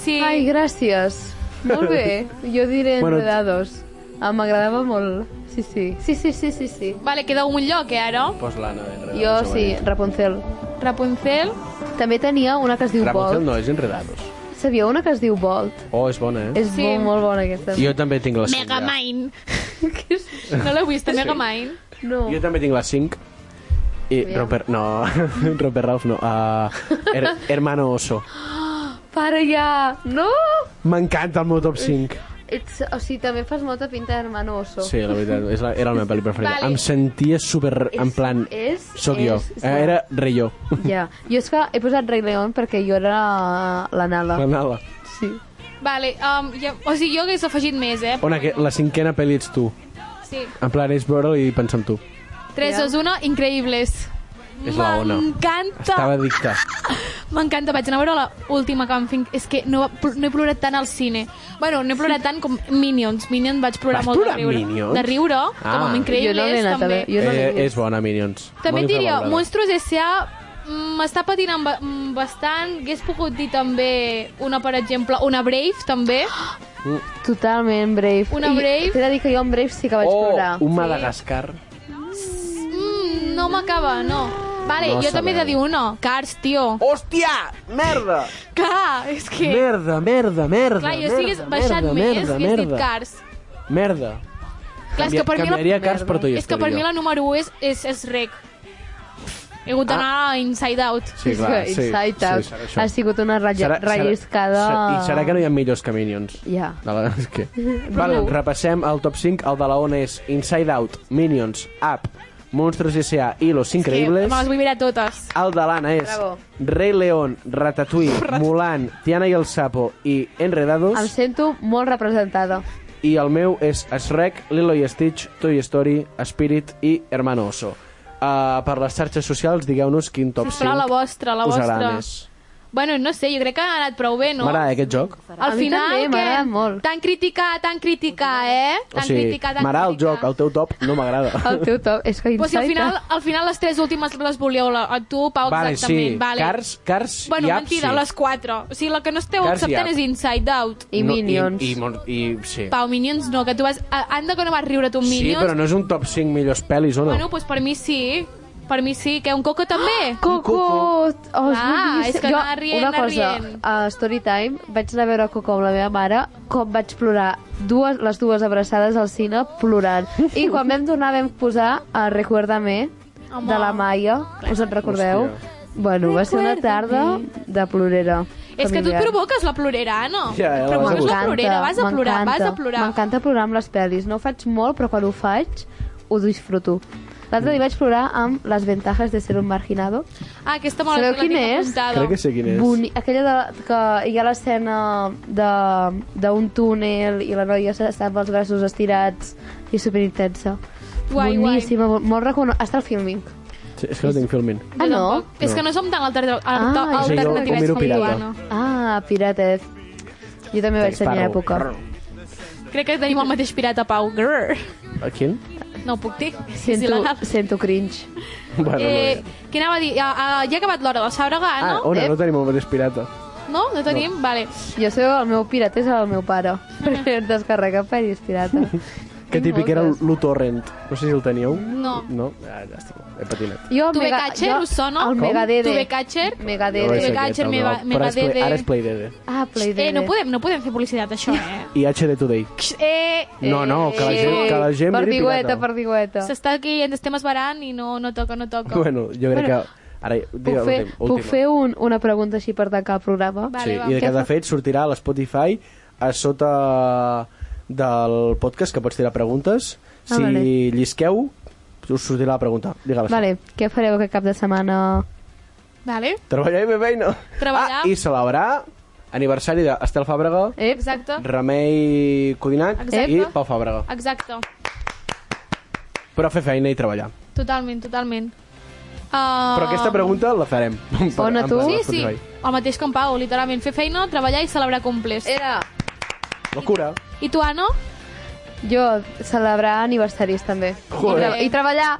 [SPEAKER 3] Sí.
[SPEAKER 5] Ai, gràcies. Molt bé. Jo diré
[SPEAKER 4] Bueno,
[SPEAKER 5] enredados. Ah, m'agradava molt. Sí, sí. Sí, sí, sí, sí, sí.
[SPEAKER 3] Vale, queda un lloc, eh, ara.
[SPEAKER 4] Pues l'Anna d'enredados.
[SPEAKER 5] Jo sí, Rapunzel.
[SPEAKER 3] Rapunzel.
[SPEAKER 5] També tenia una que es diu
[SPEAKER 4] Rapunzel
[SPEAKER 5] Bolt.
[SPEAKER 4] no, és enredados.
[SPEAKER 5] Sabia una que es diu Bolt.
[SPEAKER 4] Oh, és bona, eh?
[SPEAKER 5] És
[SPEAKER 3] Sí.
[SPEAKER 5] molt, molt bona aquesta.
[SPEAKER 4] Jo també tinc la 5.
[SPEAKER 3] Megamind. no l'heu vist, Megamind?
[SPEAKER 5] No.
[SPEAKER 4] Jo també tinc la 5. I
[SPEAKER 5] Mira.
[SPEAKER 4] Robert, no, Robert Ralph no, uh, her, Hermano Oso.
[SPEAKER 5] Para ja! No!
[SPEAKER 4] M'encanta el meu top 5.
[SPEAKER 5] Ets, o sigui, també fas molta pinta d'hermano oso.
[SPEAKER 4] Sí, la veritat, és la, era la meva pel·li preferida.
[SPEAKER 5] Vale.
[SPEAKER 4] Em sentia super, en plan,
[SPEAKER 5] és-
[SPEAKER 4] sóc
[SPEAKER 5] és-
[SPEAKER 4] jo.
[SPEAKER 5] és-
[SPEAKER 4] Eh, Era rei jo.
[SPEAKER 5] Ja. Jo és que he posat Rei León perquè jo era la Nala.
[SPEAKER 4] La Nala.
[SPEAKER 5] Sí.
[SPEAKER 3] Vale, um, ja, o sigui, jo hagués afegit més, eh?
[SPEAKER 4] Ona, que la cinquena pel·li ets tu.
[SPEAKER 3] Sí.
[SPEAKER 4] En plan, és veure i pensar en tu.
[SPEAKER 3] 3, 2, 1, increïbles.
[SPEAKER 4] És la Ona. Estava
[SPEAKER 3] M'encanta,
[SPEAKER 4] dicta.
[SPEAKER 3] m'encanta. Vaig anar a veure l'última que em fin... És que no, no he plorat tant al cine. Bueno, no he plorat tant com Minions. Minions vaig plorar
[SPEAKER 4] Vas
[SPEAKER 3] molt
[SPEAKER 4] plorar
[SPEAKER 3] de riure.
[SPEAKER 4] Minions?
[SPEAKER 3] De riure,
[SPEAKER 4] Ah.
[SPEAKER 3] com amb Increïbles,
[SPEAKER 5] Jo no l'he anat a
[SPEAKER 3] també.
[SPEAKER 5] veure, Jo no l'he
[SPEAKER 4] eh, és bona, Minions.
[SPEAKER 3] També
[SPEAKER 4] Molt
[SPEAKER 3] et diria,
[SPEAKER 4] infravalorada.
[SPEAKER 3] Monstruos S.A. mm, m'està patint amb, mm, bastant. Hagués pogut dir també una, per exemple, una Brave, també.
[SPEAKER 5] Totalment Brave.
[SPEAKER 3] Una
[SPEAKER 5] I
[SPEAKER 3] Brave.
[SPEAKER 5] T'he de dir que jo en Brave sí que vaig
[SPEAKER 4] Oh,
[SPEAKER 5] plorar.
[SPEAKER 4] un Madagascar.
[SPEAKER 3] Mm, no m'acaba, no. Vale,
[SPEAKER 4] No
[SPEAKER 3] jo també he de
[SPEAKER 4] sabeu.
[SPEAKER 3] dir una. Cars, tio.
[SPEAKER 4] Hòstia! Merda!
[SPEAKER 3] Clar, és que...
[SPEAKER 4] Merda, merda, merda.
[SPEAKER 3] Clar, jo
[SPEAKER 4] merda,
[SPEAKER 3] si hagués baixat
[SPEAKER 4] merda,
[SPEAKER 3] més,
[SPEAKER 4] merda,
[SPEAKER 3] hagués dit
[SPEAKER 4] merda.
[SPEAKER 3] Cars.
[SPEAKER 4] Merda.
[SPEAKER 3] Clar, és que per mi
[SPEAKER 4] Canviaria
[SPEAKER 3] la,
[SPEAKER 4] Cars per Toy
[SPEAKER 3] és que per
[SPEAKER 4] Story,
[SPEAKER 3] mi
[SPEAKER 4] jo.
[SPEAKER 3] la número 1 és, és, és Rec. He hagut d'anar
[SPEAKER 4] Ah.
[SPEAKER 3] a Inside Out.
[SPEAKER 4] Sí, clar,
[SPEAKER 5] És
[SPEAKER 4] sí.
[SPEAKER 5] que Inside Out
[SPEAKER 4] Sí, serà
[SPEAKER 5] ha
[SPEAKER 4] això.
[SPEAKER 5] sigut una ratlla,
[SPEAKER 4] Serà- serà-
[SPEAKER 5] relliscada...
[SPEAKER 4] se- I serà que no hi ha millors que Minions.
[SPEAKER 5] Ja.
[SPEAKER 4] De la... és que... Val, repassem el top 5. El de la ONA és Inside Out, Minions, Up, Monstros S.A. i Los
[SPEAKER 3] És que
[SPEAKER 4] Increíbles.
[SPEAKER 3] Me les vull mirar totes.
[SPEAKER 4] El de l'Anna és
[SPEAKER 5] Bravo.
[SPEAKER 4] Rei León, Ratatouille, Mulan, Tiana i el Sapo i Enredados.
[SPEAKER 5] Em sento molt representada.
[SPEAKER 4] I el meu és Shrek, Lilo i Stitch, Toy Story, Spirit i Hermano Oso. Uh, per les xarxes socials, digueu-nos quin top
[SPEAKER 3] Sisplau,
[SPEAKER 4] 5
[SPEAKER 3] la vostra, la
[SPEAKER 4] us agrada
[SPEAKER 3] vostra.
[SPEAKER 4] més.
[SPEAKER 3] Bueno, no sé, jo crec que ha anat prou bé, no?
[SPEAKER 4] M'agrada aquest joc.
[SPEAKER 5] A
[SPEAKER 3] Al
[SPEAKER 5] mi també,
[SPEAKER 3] final,
[SPEAKER 5] m'agrada
[SPEAKER 3] que...
[SPEAKER 5] molt.
[SPEAKER 3] Tan criticar, tan criticar, eh?
[SPEAKER 4] O
[SPEAKER 3] Tan
[SPEAKER 4] sigui,
[SPEAKER 3] criticar, tan
[SPEAKER 4] m'agrada el
[SPEAKER 3] criticar.
[SPEAKER 4] joc, el teu top no m'agrada.
[SPEAKER 5] El teu top. És que
[SPEAKER 3] Però si
[SPEAKER 5] Inside
[SPEAKER 3] al final,
[SPEAKER 5] Out...
[SPEAKER 3] al final les tres últimes les volíeu la, a tu, Pau,
[SPEAKER 4] Vale,
[SPEAKER 3] exactament.
[SPEAKER 4] sí.
[SPEAKER 3] Vale.
[SPEAKER 4] Cars- Cars
[SPEAKER 3] bueno,
[SPEAKER 4] i Up,
[SPEAKER 3] mentida,
[SPEAKER 4] sí.
[SPEAKER 3] les quatre. O sigui, la que no esteu
[SPEAKER 4] Cars i
[SPEAKER 3] acceptant
[SPEAKER 4] Up.
[SPEAKER 3] és Inside Out.
[SPEAKER 5] I Minions.
[SPEAKER 4] I, i, mon- i, sí.
[SPEAKER 3] Pau, Minions no, que tu vas... a- Anda que no vas riure tu amb
[SPEAKER 4] Sí,
[SPEAKER 3] Minions.
[SPEAKER 4] però no és un top 5 millors pel·lis, o no?
[SPEAKER 3] Bueno, doncs per mi sí. Per mi sí, que un coco
[SPEAKER 5] Ah,
[SPEAKER 3] també.
[SPEAKER 5] Coco! Oh, és
[SPEAKER 3] Ah,
[SPEAKER 5] boníssim.
[SPEAKER 3] és que
[SPEAKER 5] Jo,
[SPEAKER 3] anar rient,
[SPEAKER 5] Una
[SPEAKER 3] anar
[SPEAKER 5] cosa,
[SPEAKER 3] rient.
[SPEAKER 5] a Storytime vaig anar a veure Coco amb la meva mare, com vaig plorar dues, les dues abraçades al cine plorant. I quan vam tornar vam posar a Recuérdame,
[SPEAKER 3] Home.
[SPEAKER 5] de la Maia, us en recordeu?
[SPEAKER 4] Hòstia.
[SPEAKER 5] Bueno, va ser una tarda de plorera.
[SPEAKER 3] És que tu et
[SPEAKER 5] familiar.
[SPEAKER 3] provoques la plorera, no?
[SPEAKER 4] Ja, ja la vas a
[SPEAKER 3] provoques la
[SPEAKER 4] buscar.
[SPEAKER 3] plorera, vas a plorar, vas
[SPEAKER 5] m'encanta.
[SPEAKER 3] a plorar.
[SPEAKER 5] M'encanta plorar amb les pel·lis. No ho faig molt, però quan ho faig, ho disfruto. L'altre dia vaig plorar amb Les ventajas de ser un marginado.
[SPEAKER 3] Ah, aquesta me la-
[SPEAKER 5] Sabeu
[SPEAKER 3] la
[SPEAKER 5] quin
[SPEAKER 3] tinc
[SPEAKER 5] és?
[SPEAKER 3] apuntada.
[SPEAKER 4] Crec que sé quin és.
[SPEAKER 5] Boni aquella de, que hi ha l'escena de- d'un túnel i la noia està amb els braços estirats i superintensa.
[SPEAKER 3] Guai, guai.
[SPEAKER 5] Boníssima, guai. molt recono... Està al filming.
[SPEAKER 4] Sí, és que no tinc filmin.
[SPEAKER 5] Ah, no?
[SPEAKER 3] Tampoc. És que no som tan alter- alter-
[SPEAKER 5] Ah,
[SPEAKER 4] sí, jo ho
[SPEAKER 3] alternatives
[SPEAKER 4] miro
[SPEAKER 3] com
[SPEAKER 4] pirata.
[SPEAKER 3] tu, Anna.
[SPEAKER 5] Ah, pirata. Jo també vaig tenir època.
[SPEAKER 3] Crec que tenim el mateix pirata, Pau. Grrr.
[SPEAKER 4] A quin?
[SPEAKER 3] No ho puc dir. És
[SPEAKER 5] Sento,
[SPEAKER 3] il·legal.
[SPEAKER 5] sento cringe.
[SPEAKER 4] Bueno,
[SPEAKER 3] Eh,
[SPEAKER 4] no.
[SPEAKER 3] què anava a dir? Ja, ah, ja ha acabat l'hora de Sàbrega,
[SPEAKER 4] Ah,
[SPEAKER 3] no?
[SPEAKER 4] Ona, no tenim el mateix pirata.
[SPEAKER 3] No? No tenim? Vale.
[SPEAKER 5] Jo sé el meu pirata és el meu pare, perquè es descarrega pel·lis pirata.
[SPEAKER 4] Que
[SPEAKER 5] Tinc
[SPEAKER 4] típic era
[SPEAKER 5] moltes.
[SPEAKER 4] l'Utorrent. No sé si el teníeu.
[SPEAKER 3] No.
[SPEAKER 4] No? Ah, llàstima. He patinat.
[SPEAKER 5] Jo,
[SPEAKER 3] Tu ve
[SPEAKER 5] Mega-
[SPEAKER 3] catxer,
[SPEAKER 5] jo-
[SPEAKER 3] us sona?
[SPEAKER 5] El
[SPEAKER 3] Com?
[SPEAKER 5] Megadede.
[SPEAKER 3] Tu ve catxer?
[SPEAKER 5] Megadede.
[SPEAKER 4] No és
[SPEAKER 3] Dede.
[SPEAKER 4] aquest,
[SPEAKER 3] Gadget,
[SPEAKER 4] el
[SPEAKER 3] me
[SPEAKER 4] no.
[SPEAKER 3] va- me
[SPEAKER 4] Però
[SPEAKER 3] va
[SPEAKER 4] és Play-
[SPEAKER 3] Dede.
[SPEAKER 4] Ara és Play Dede.
[SPEAKER 5] Ah, Playdede.
[SPEAKER 3] Eh, no podem, no podem fer publicitat, això, eh?
[SPEAKER 4] I HD Today.
[SPEAKER 3] Eh,
[SPEAKER 4] No, no, que la gent, que la gent miri
[SPEAKER 5] Perdigueta,
[SPEAKER 4] pirata.
[SPEAKER 5] perdigueta.
[SPEAKER 3] s'està aquí, ens estem esbarant i no, no toca, no toca.
[SPEAKER 4] Bueno, jo crec que...
[SPEAKER 5] Bueno,
[SPEAKER 4] Ara, digue
[SPEAKER 5] Puc fer,
[SPEAKER 4] l'últim.
[SPEAKER 5] puc
[SPEAKER 4] última.
[SPEAKER 5] fer un, una pregunta així per tancar el programa?
[SPEAKER 3] Va.
[SPEAKER 4] Sí,
[SPEAKER 3] Vale, va.
[SPEAKER 4] i de
[SPEAKER 5] Què
[SPEAKER 4] que de
[SPEAKER 5] fa-
[SPEAKER 4] fet sortirà a l'Spotify a sota del podcast que pots tirar preguntes. Si
[SPEAKER 5] Ah, vale.
[SPEAKER 4] llisqueu, us sortirà la pregunta. Digue-la.
[SPEAKER 5] Vale, què fareu aquest cap de setmana?
[SPEAKER 3] Vale?
[SPEAKER 4] Treballar i beber i no.
[SPEAKER 3] Treballar.
[SPEAKER 4] Ah, i celebrar aniversari d'Estel Fàbrega,
[SPEAKER 5] Eh?
[SPEAKER 3] Exacte.
[SPEAKER 4] Remei Codinat
[SPEAKER 3] Exacte.
[SPEAKER 4] i Pau Fàbrega.
[SPEAKER 3] Exacte.
[SPEAKER 4] Però fer feina i treballar.
[SPEAKER 3] Totalment, totalment. Uh...
[SPEAKER 4] Però aquesta pregunta la farem.
[SPEAKER 5] Ona,
[SPEAKER 4] En
[SPEAKER 5] tu?
[SPEAKER 4] plan,
[SPEAKER 3] Sí,
[SPEAKER 4] a
[SPEAKER 3] sí,
[SPEAKER 4] Spotify.
[SPEAKER 3] el mateix que en Pau, literalment. Fer feina, treballar i celebrar comples.
[SPEAKER 5] Era.
[SPEAKER 4] Locura.
[SPEAKER 3] I tu, Anna?
[SPEAKER 5] Jo, celebrar aniversaris també.
[SPEAKER 4] Joder.
[SPEAKER 5] I, tre- I treballar.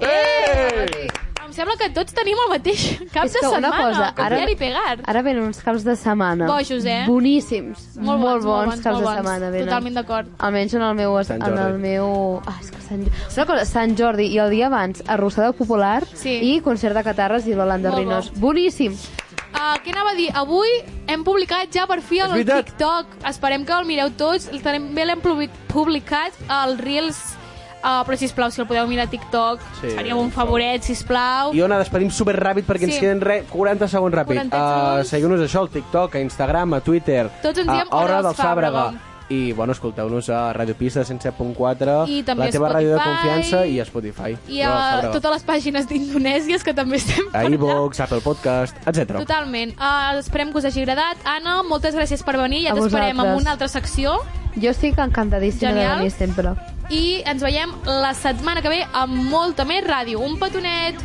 [SPEAKER 5] Eh!
[SPEAKER 3] Em sembla que tots tenim el mateix cap
[SPEAKER 5] És
[SPEAKER 3] de
[SPEAKER 5] que una
[SPEAKER 3] setmana.
[SPEAKER 5] cosa, ara-
[SPEAKER 3] Copiar i pegar.
[SPEAKER 5] Ara venen uns caps de setmana.
[SPEAKER 3] Bojos, eh?
[SPEAKER 5] Boníssims.
[SPEAKER 3] Molt bons, molt bons,
[SPEAKER 5] caps
[SPEAKER 3] molt
[SPEAKER 5] de
[SPEAKER 3] bons.
[SPEAKER 5] setmana venen.
[SPEAKER 3] Totalment d'acord.
[SPEAKER 5] Almenys en el meu...
[SPEAKER 4] Sant
[SPEAKER 5] en el
[SPEAKER 4] Jordi.
[SPEAKER 5] meu... Ah, és que Sant... Una cosa, Sant Jordi i el dia abans, Arrossada Popular
[SPEAKER 3] Sí.
[SPEAKER 5] i concert de Catarres i l'Holanda
[SPEAKER 3] Molt bo.
[SPEAKER 5] Rinos. Boníssim.
[SPEAKER 3] Uh, què anava a dir? Avui hem publicat ja per fi
[SPEAKER 4] És
[SPEAKER 3] el
[SPEAKER 4] veritat.
[SPEAKER 3] TikTok. Esperem que el mireu tots. També l'hem publi- publicat al Reels, uh, però sisplau, si el podeu mirar a TikTok,
[SPEAKER 4] Sí,
[SPEAKER 3] sí, faríeu un favoret, sisplau.
[SPEAKER 4] I Ona, despedim super ràpid perquè ens
[SPEAKER 3] Sí.
[SPEAKER 4] queden re, 40 segons ràpid. Ah,
[SPEAKER 3] 40 segons.
[SPEAKER 4] Uh, Seguiu-nos això al TikTok, a Instagram, a Twitter.
[SPEAKER 3] Tots ens
[SPEAKER 4] a
[SPEAKER 3] diem
[SPEAKER 4] Hora
[SPEAKER 3] Hora
[SPEAKER 4] del
[SPEAKER 3] dels
[SPEAKER 4] Sàbrega.
[SPEAKER 3] Fàbrega.
[SPEAKER 4] i, bueno, escolteu-nos a Radio Pista 107.4,
[SPEAKER 3] I
[SPEAKER 4] la
[SPEAKER 3] també
[SPEAKER 4] teva ràdio de
[SPEAKER 3] Spotify.
[SPEAKER 4] confiança i a Spotify.
[SPEAKER 3] I a totes les pàgines d'Indonèsies que també estem
[SPEAKER 4] A iVox, Apple Podcast, etc.
[SPEAKER 3] Totalment. Uh, esperem que us hagi agradat. Ana, moltes gràcies per venir. Ja
[SPEAKER 5] A
[SPEAKER 3] t'esperem amb
[SPEAKER 5] vosaltres.
[SPEAKER 3] una altra secció.
[SPEAKER 5] Jo estic encantadíssima
[SPEAKER 3] Genial.
[SPEAKER 5] de venir sempre.
[SPEAKER 3] I ens veiem la setmana que ve amb molta més ràdio. Un petonet!